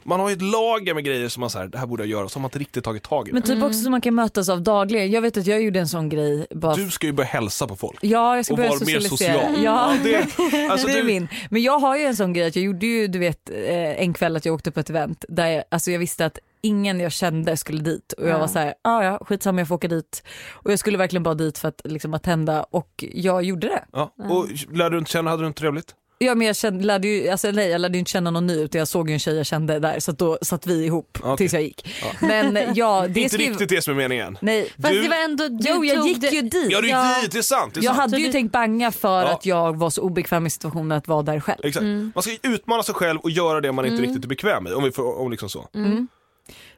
Speaker 2: man har ju ett lager med grejer som man säger, det här borde jag göra, som man inte riktigt tagit tag i.
Speaker 1: Men typ också som man kan mötas av dagligen. Jag vet att jag gjorde en sån grej bara
Speaker 2: Du ska ju börja hälsa på folk.
Speaker 1: Ja, jag ska
Speaker 2: Och
Speaker 1: börja
Speaker 2: vara mer
Speaker 1: socialisera.
Speaker 2: social.
Speaker 1: Ja.
Speaker 2: det, alltså,
Speaker 1: det är
Speaker 2: du,
Speaker 1: min. Men jag har ju en sån grej att jag gjorde ju du vet eh, en kväll att jag åkte på ett event där jag, alltså jag visste att ingen jag kände skulle dit och jag
Speaker 3: Ja.
Speaker 1: var så här, ah, ja skitsamma jag får åka dit. Och jag skulle verkligen bara dit för att liksom attenda och jag gjorde det.
Speaker 2: ja. Och lärde du inte känna, hade du inte trevligt?
Speaker 1: Ja men jag kände, lärde ju, alltså, nej, jag lärde ju inte känna någon ny utan jag såg ju en tjej jag kände där så att då satt vi ihop
Speaker 2: Okej.
Speaker 1: tills jag gick. Men eh, ja, det
Speaker 2: inte
Speaker 1: ska ju-
Speaker 2: riktigt det som är meningen.
Speaker 1: Nej.
Speaker 3: Fast
Speaker 2: Du-
Speaker 3: det var ändå... Du
Speaker 1: Jo jag
Speaker 3: tog
Speaker 1: gick
Speaker 3: det-
Speaker 1: ju dit.
Speaker 2: Ja, du gick dit, det är sant. Det är
Speaker 1: Jag
Speaker 2: sant.
Speaker 1: hade
Speaker 3: Så
Speaker 1: ju
Speaker 3: du-
Speaker 1: tänkt banga för
Speaker 2: Ja.
Speaker 1: att jag var så obekväm i situationen att vara där själv.
Speaker 2: Exakt.
Speaker 3: Mm.
Speaker 2: Man ska ju utmana sig själv och göra det man inte riktigt är bekväm i. Om vi får, om liksom
Speaker 3: Alltså
Speaker 2: så.
Speaker 3: Mm.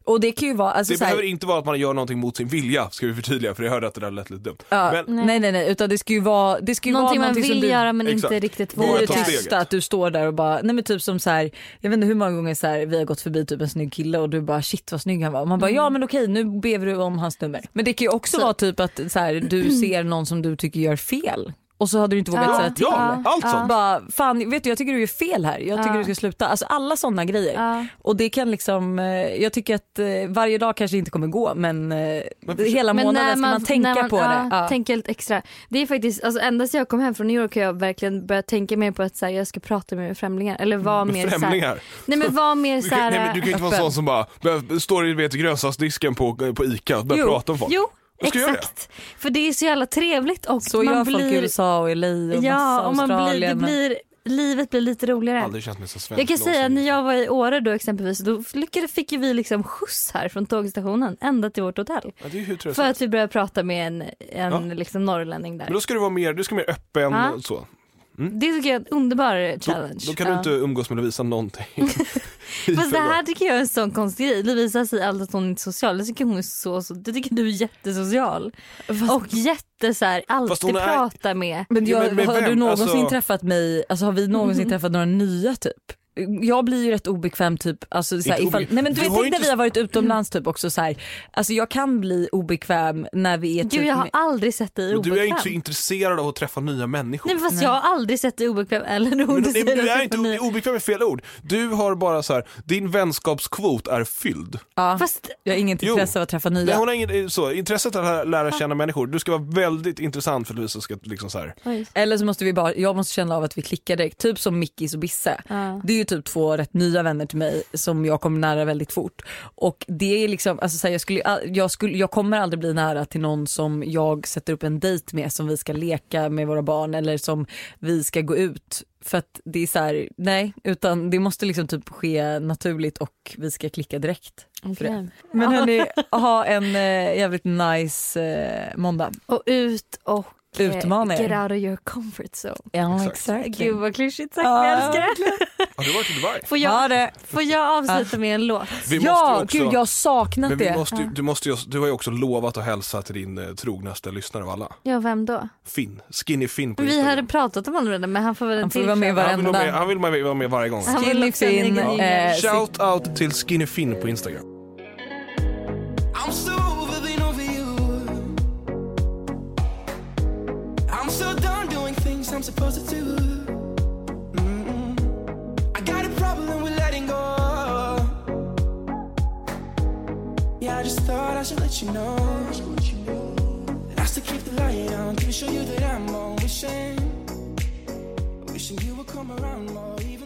Speaker 1: Och det kan ju vara, alltså,
Speaker 2: Det
Speaker 1: så här,
Speaker 2: behöver inte vara att man gör någonting mot sin vilja, ska vi förtydliga, för jag hörde att det där lät lite dumt.
Speaker 1: Ja,
Speaker 2: Men
Speaker 1: nej nej nej utan det ska ju vara, det ska ju
Speaker 3: Någonting
Speaker 1: vara
Speaker 3: man
Speaker 1: någonting
Speaker 3: vill
Speaker 1: som du
Speaker 3: göra men
Speaker 2: Exakt.
Speaker 3: inte riktigt
Speaker 2: Det är ju
Speaker 1: blir
Speaker 2: ta
Speaker 3: vågar.
Speaker 2: ett steg.
Speaker 1: tysta att du står där och bara, nej men typ som så här, jag vet inte hur många gånger så här, vi har gått förbi typ en snygg kille och du bara shit vad snygg han var. Och Man bara ja men okej nu ber du om hans nummer. Mm. Men det kan ju också vara typ att så här, du ser någon som du tycker gör fel och så hade du inte vågat
Speaker 3: Ja.
Speaker 1: säga till.
Speaker 2: ja, allt
Speaker 1: Och
Speaker 2: sånt.
Speaker 1: Bara, fan vet du jag tycker du gör fel här, jag tycker
Speaker 3: Ja.
Speaker 1: du ska sluta. Alltså alla sådana grejer.
Speaker 3: Ja.
Speaker 1: Och det kan liksom, eh, jag tycker att eh, varje dag kanske inte kommer gå men, eh,
Speaker 2: försök-
Speaker 1: hela månaden ska man, tänka
Speaker 3: när man,
Speaker 1: på det.
Speaker 3: Ja,
Speaker 1: Ja.
Speaker 3: Tänka lite extra. Det är faktiskt, alltså ända sedan jag kom hem från New York har jag verkligen börjat tänka mer på att så här, jag ska prata med främlingar. Eller vara mer så här-
Speaker 2: Mm. Främlingar.
Speaker 3: Nej men var mer
Speaker 2: Du
Speaker 3: så
Speaker 2: kan,
Speaker 3: här,
Speaker 2: nej, men du kan ju inte vara en
Speaker 1: öppen.
Speaker 2: sån som bara behöver- står i vet, grönsaksdisken på, på ICA och börjar
Speaker 1: Jo,
Speaker 2: prata om folk.
Speaker 3: Jo,
Speaker 2: Jag ska göra
Speaker 3: exakt. För det är så jävla trevligt och
Speaker 1: Så
Speaker 3: man
Speaker 1: gör folk i
Speaker 3: blir...
Speaker 1: USA och i LA och massa
Speaker 3: Ja, och man blir,
Speaker 1: Australien.
Speaker 3: det
Speaker 1: men-
Speaker 3: blir livet blir lite roligare.
Speaker 2: Aldrig känns mig så svensk
Speaker 3: Jag kan säga
Speaker 2: någonsin.
Speaker 3: när jag var i Åre då exempelvis, då lyckades, fick ju vi liksom skjuts här från tågstationen ända till vårt hotell.
Speaker 2: Ja, det är ju hur trevligt som
Speaker 3: För
Speaker 2: helst.
Speaker 3: att vi började prata med en, en
Speaker 2: Ja.
Speaker 3: liksom norrlänning där.
Speaker 2: Men då ska du vara mer, du ska vara mer öppen
Speaker 3: Ja.
Speaker 2: och så.
Speaker 3: Det tycker jag är en underbar
Speaker 2: Då,
Speaker 3: challenge.
Speaker 2: då kan du
Speaker 3: Ja.
Speaker 2: inte umgås med Lovisa någonting.
Speaker 3: Fast det här tycker jag är en sån konstig grej. Lovisa säger alltid att hon inte är social. Det tycker hon är så, så det tycker du är jättesocial. Och jätte så här,
Speaker 2: Fast
Speaker 3: alltid
Speaker 2: hon är-
Speaker 3: prata med.
Speaker 1: Men
Speaker 2: Ja,
Speaker 1: jag,
Speaker 2: men med
Speaker 1: har du
Speaker 2: vem?
Speaker 1: någonsin
Speaker 2: Alltså-
Speaker 1: träffat mig, alltså har vi någonsin träffat några nya typ? Jag blir ju rätt obekväm typ, alltså, såhär,
Speaker 2: Inte
Speaker 1: ifall,
Speaker 2: obe-
Speaker 1: nej men du,
Speaker 2: Du
Speaker 1: vet
Speaker 2: har ju
Speaker 1: tänk när
Speaker 2: inte- Mm.
Speaker 1: vi har varit utomlands typ också såhär, alltså jag kan bli obekväm när vi är typ
Speaker 3: Gud jag har
Speaker 1: med-
Speaker 3: aldrig sett dig
Speaker 2: Men
Speaker 3: obekväm.
Speaker 2: du är inte så intresserad av att träffa nya människor.
Speaker 3: Nej men fast jag har aldrig sett dig obekväm eller
Speaker 2: Men
Speaker 3: rolig.
Speaker 2: du,
Speaker 3: säger
Speaker 2: du
Speaker 3: jag
Speaker 2: är
Speaker 3: så
Speaker 2: inte
Speaker 3: förnöjd.
Speaker 2: o- obekväm med fel ord. Du har bara så här, din vänskapskvot är fylld.
Speaker 1: ja,
Speaker 3: Fast
Speaker 1: jag har inget
Speaker 2: Jo.
Speaker 1: intresse av att träffa
Speaker 2: Nej,
Speaker 1: nya.
Speaker 2: hon har inget, så, intresset att lära- lära känna människor, du ska vara väldigt intressant för att Lovisa ska liksom så här.
Speaker 3: Oj.
Speaker 1: Eller så måste vi bara, jag måste känna av att vi klickar direkt, typ som Mickis och Bisse.
Speaker 3: Ja.
Speaker 1: Det är ju typ två rätt nya vänner till mig som jag kommer nära väldigt fort. Och det är liksom, alltså så här, jag, skulle, all- jag, skulle, jag kommer aldrig bli nära till någon som jag sätter upp en dejt med som vi ska leka med våra barn eller som vi ska gå ut. För att det är så här, nej, utan det måste liksom typ ske naturligt och vi ska klicka direkt. För det.
Speaker 3: Okej.
Speaker 1: Men hörni, ha en eh, jävligt nice eh, måndag.
Speaker 3: Och ut och eh,
Speaker 1: Utmana er.
Speaker 3: Get out of your comfort zone.
Speaker 1: Ja,
Speaker 2: Exakt.
Speaker 3: Gud vad klyschigt sagt,
Speaker 1: Ja,
Speaker 3: jag älskar det.
Speaker 2: Har du varit i Dubai?
Speaker 3: Får
Speaker 1: Ha
Speaker 3: jag,
Speaker 1: det.
Speaker 3: får jag avsluta med en låt?
Speaker 2: Vi
Speaker 1: ja,
Speaker 2: måste ju
Speaker 1: gud jag har saknat
Speaker 2: men vi
Speaker 1: det.
Speaker 2: måste, ju- du, måste ju, du har ju också lovat att hälsa till din eh, trognaste lyssnare av alla.
Speaker 3: Ja, vem då?
Speaker 2: Finn, Skinny Finn på
Speaker 3: Vi
Speaker 2: Instagram.
Speaker 3: hade pratat om honom redan men han får väl en
Speaker 1: Han får
Speaker 3: till
Speaker 1: vara med
Speaker 3: shout.
Speaker 2: han vill, vara med,
Speaker 1: varenda.
Speaker 2: han vill vara med- vara med varje gång.
Speaker 3: Han vill
Speaker 1: Skinny
Speaker 3: också ha en
Speaker 1: Finn,
Speaker 3: egen
Speaker 1: eh,
Speaker 3: jingel.
Speaker 2: Shout out till Skinny Finn på Instagram.
Speaker 5: I'm so over being over you. I'm so done doing things I'm supposed to do. Mm. I got a problem with letting go. Yeah, I just thought I should let you know. That I still keep the light on. Can show you that I'm on wishing. Wishing you would come around more. Even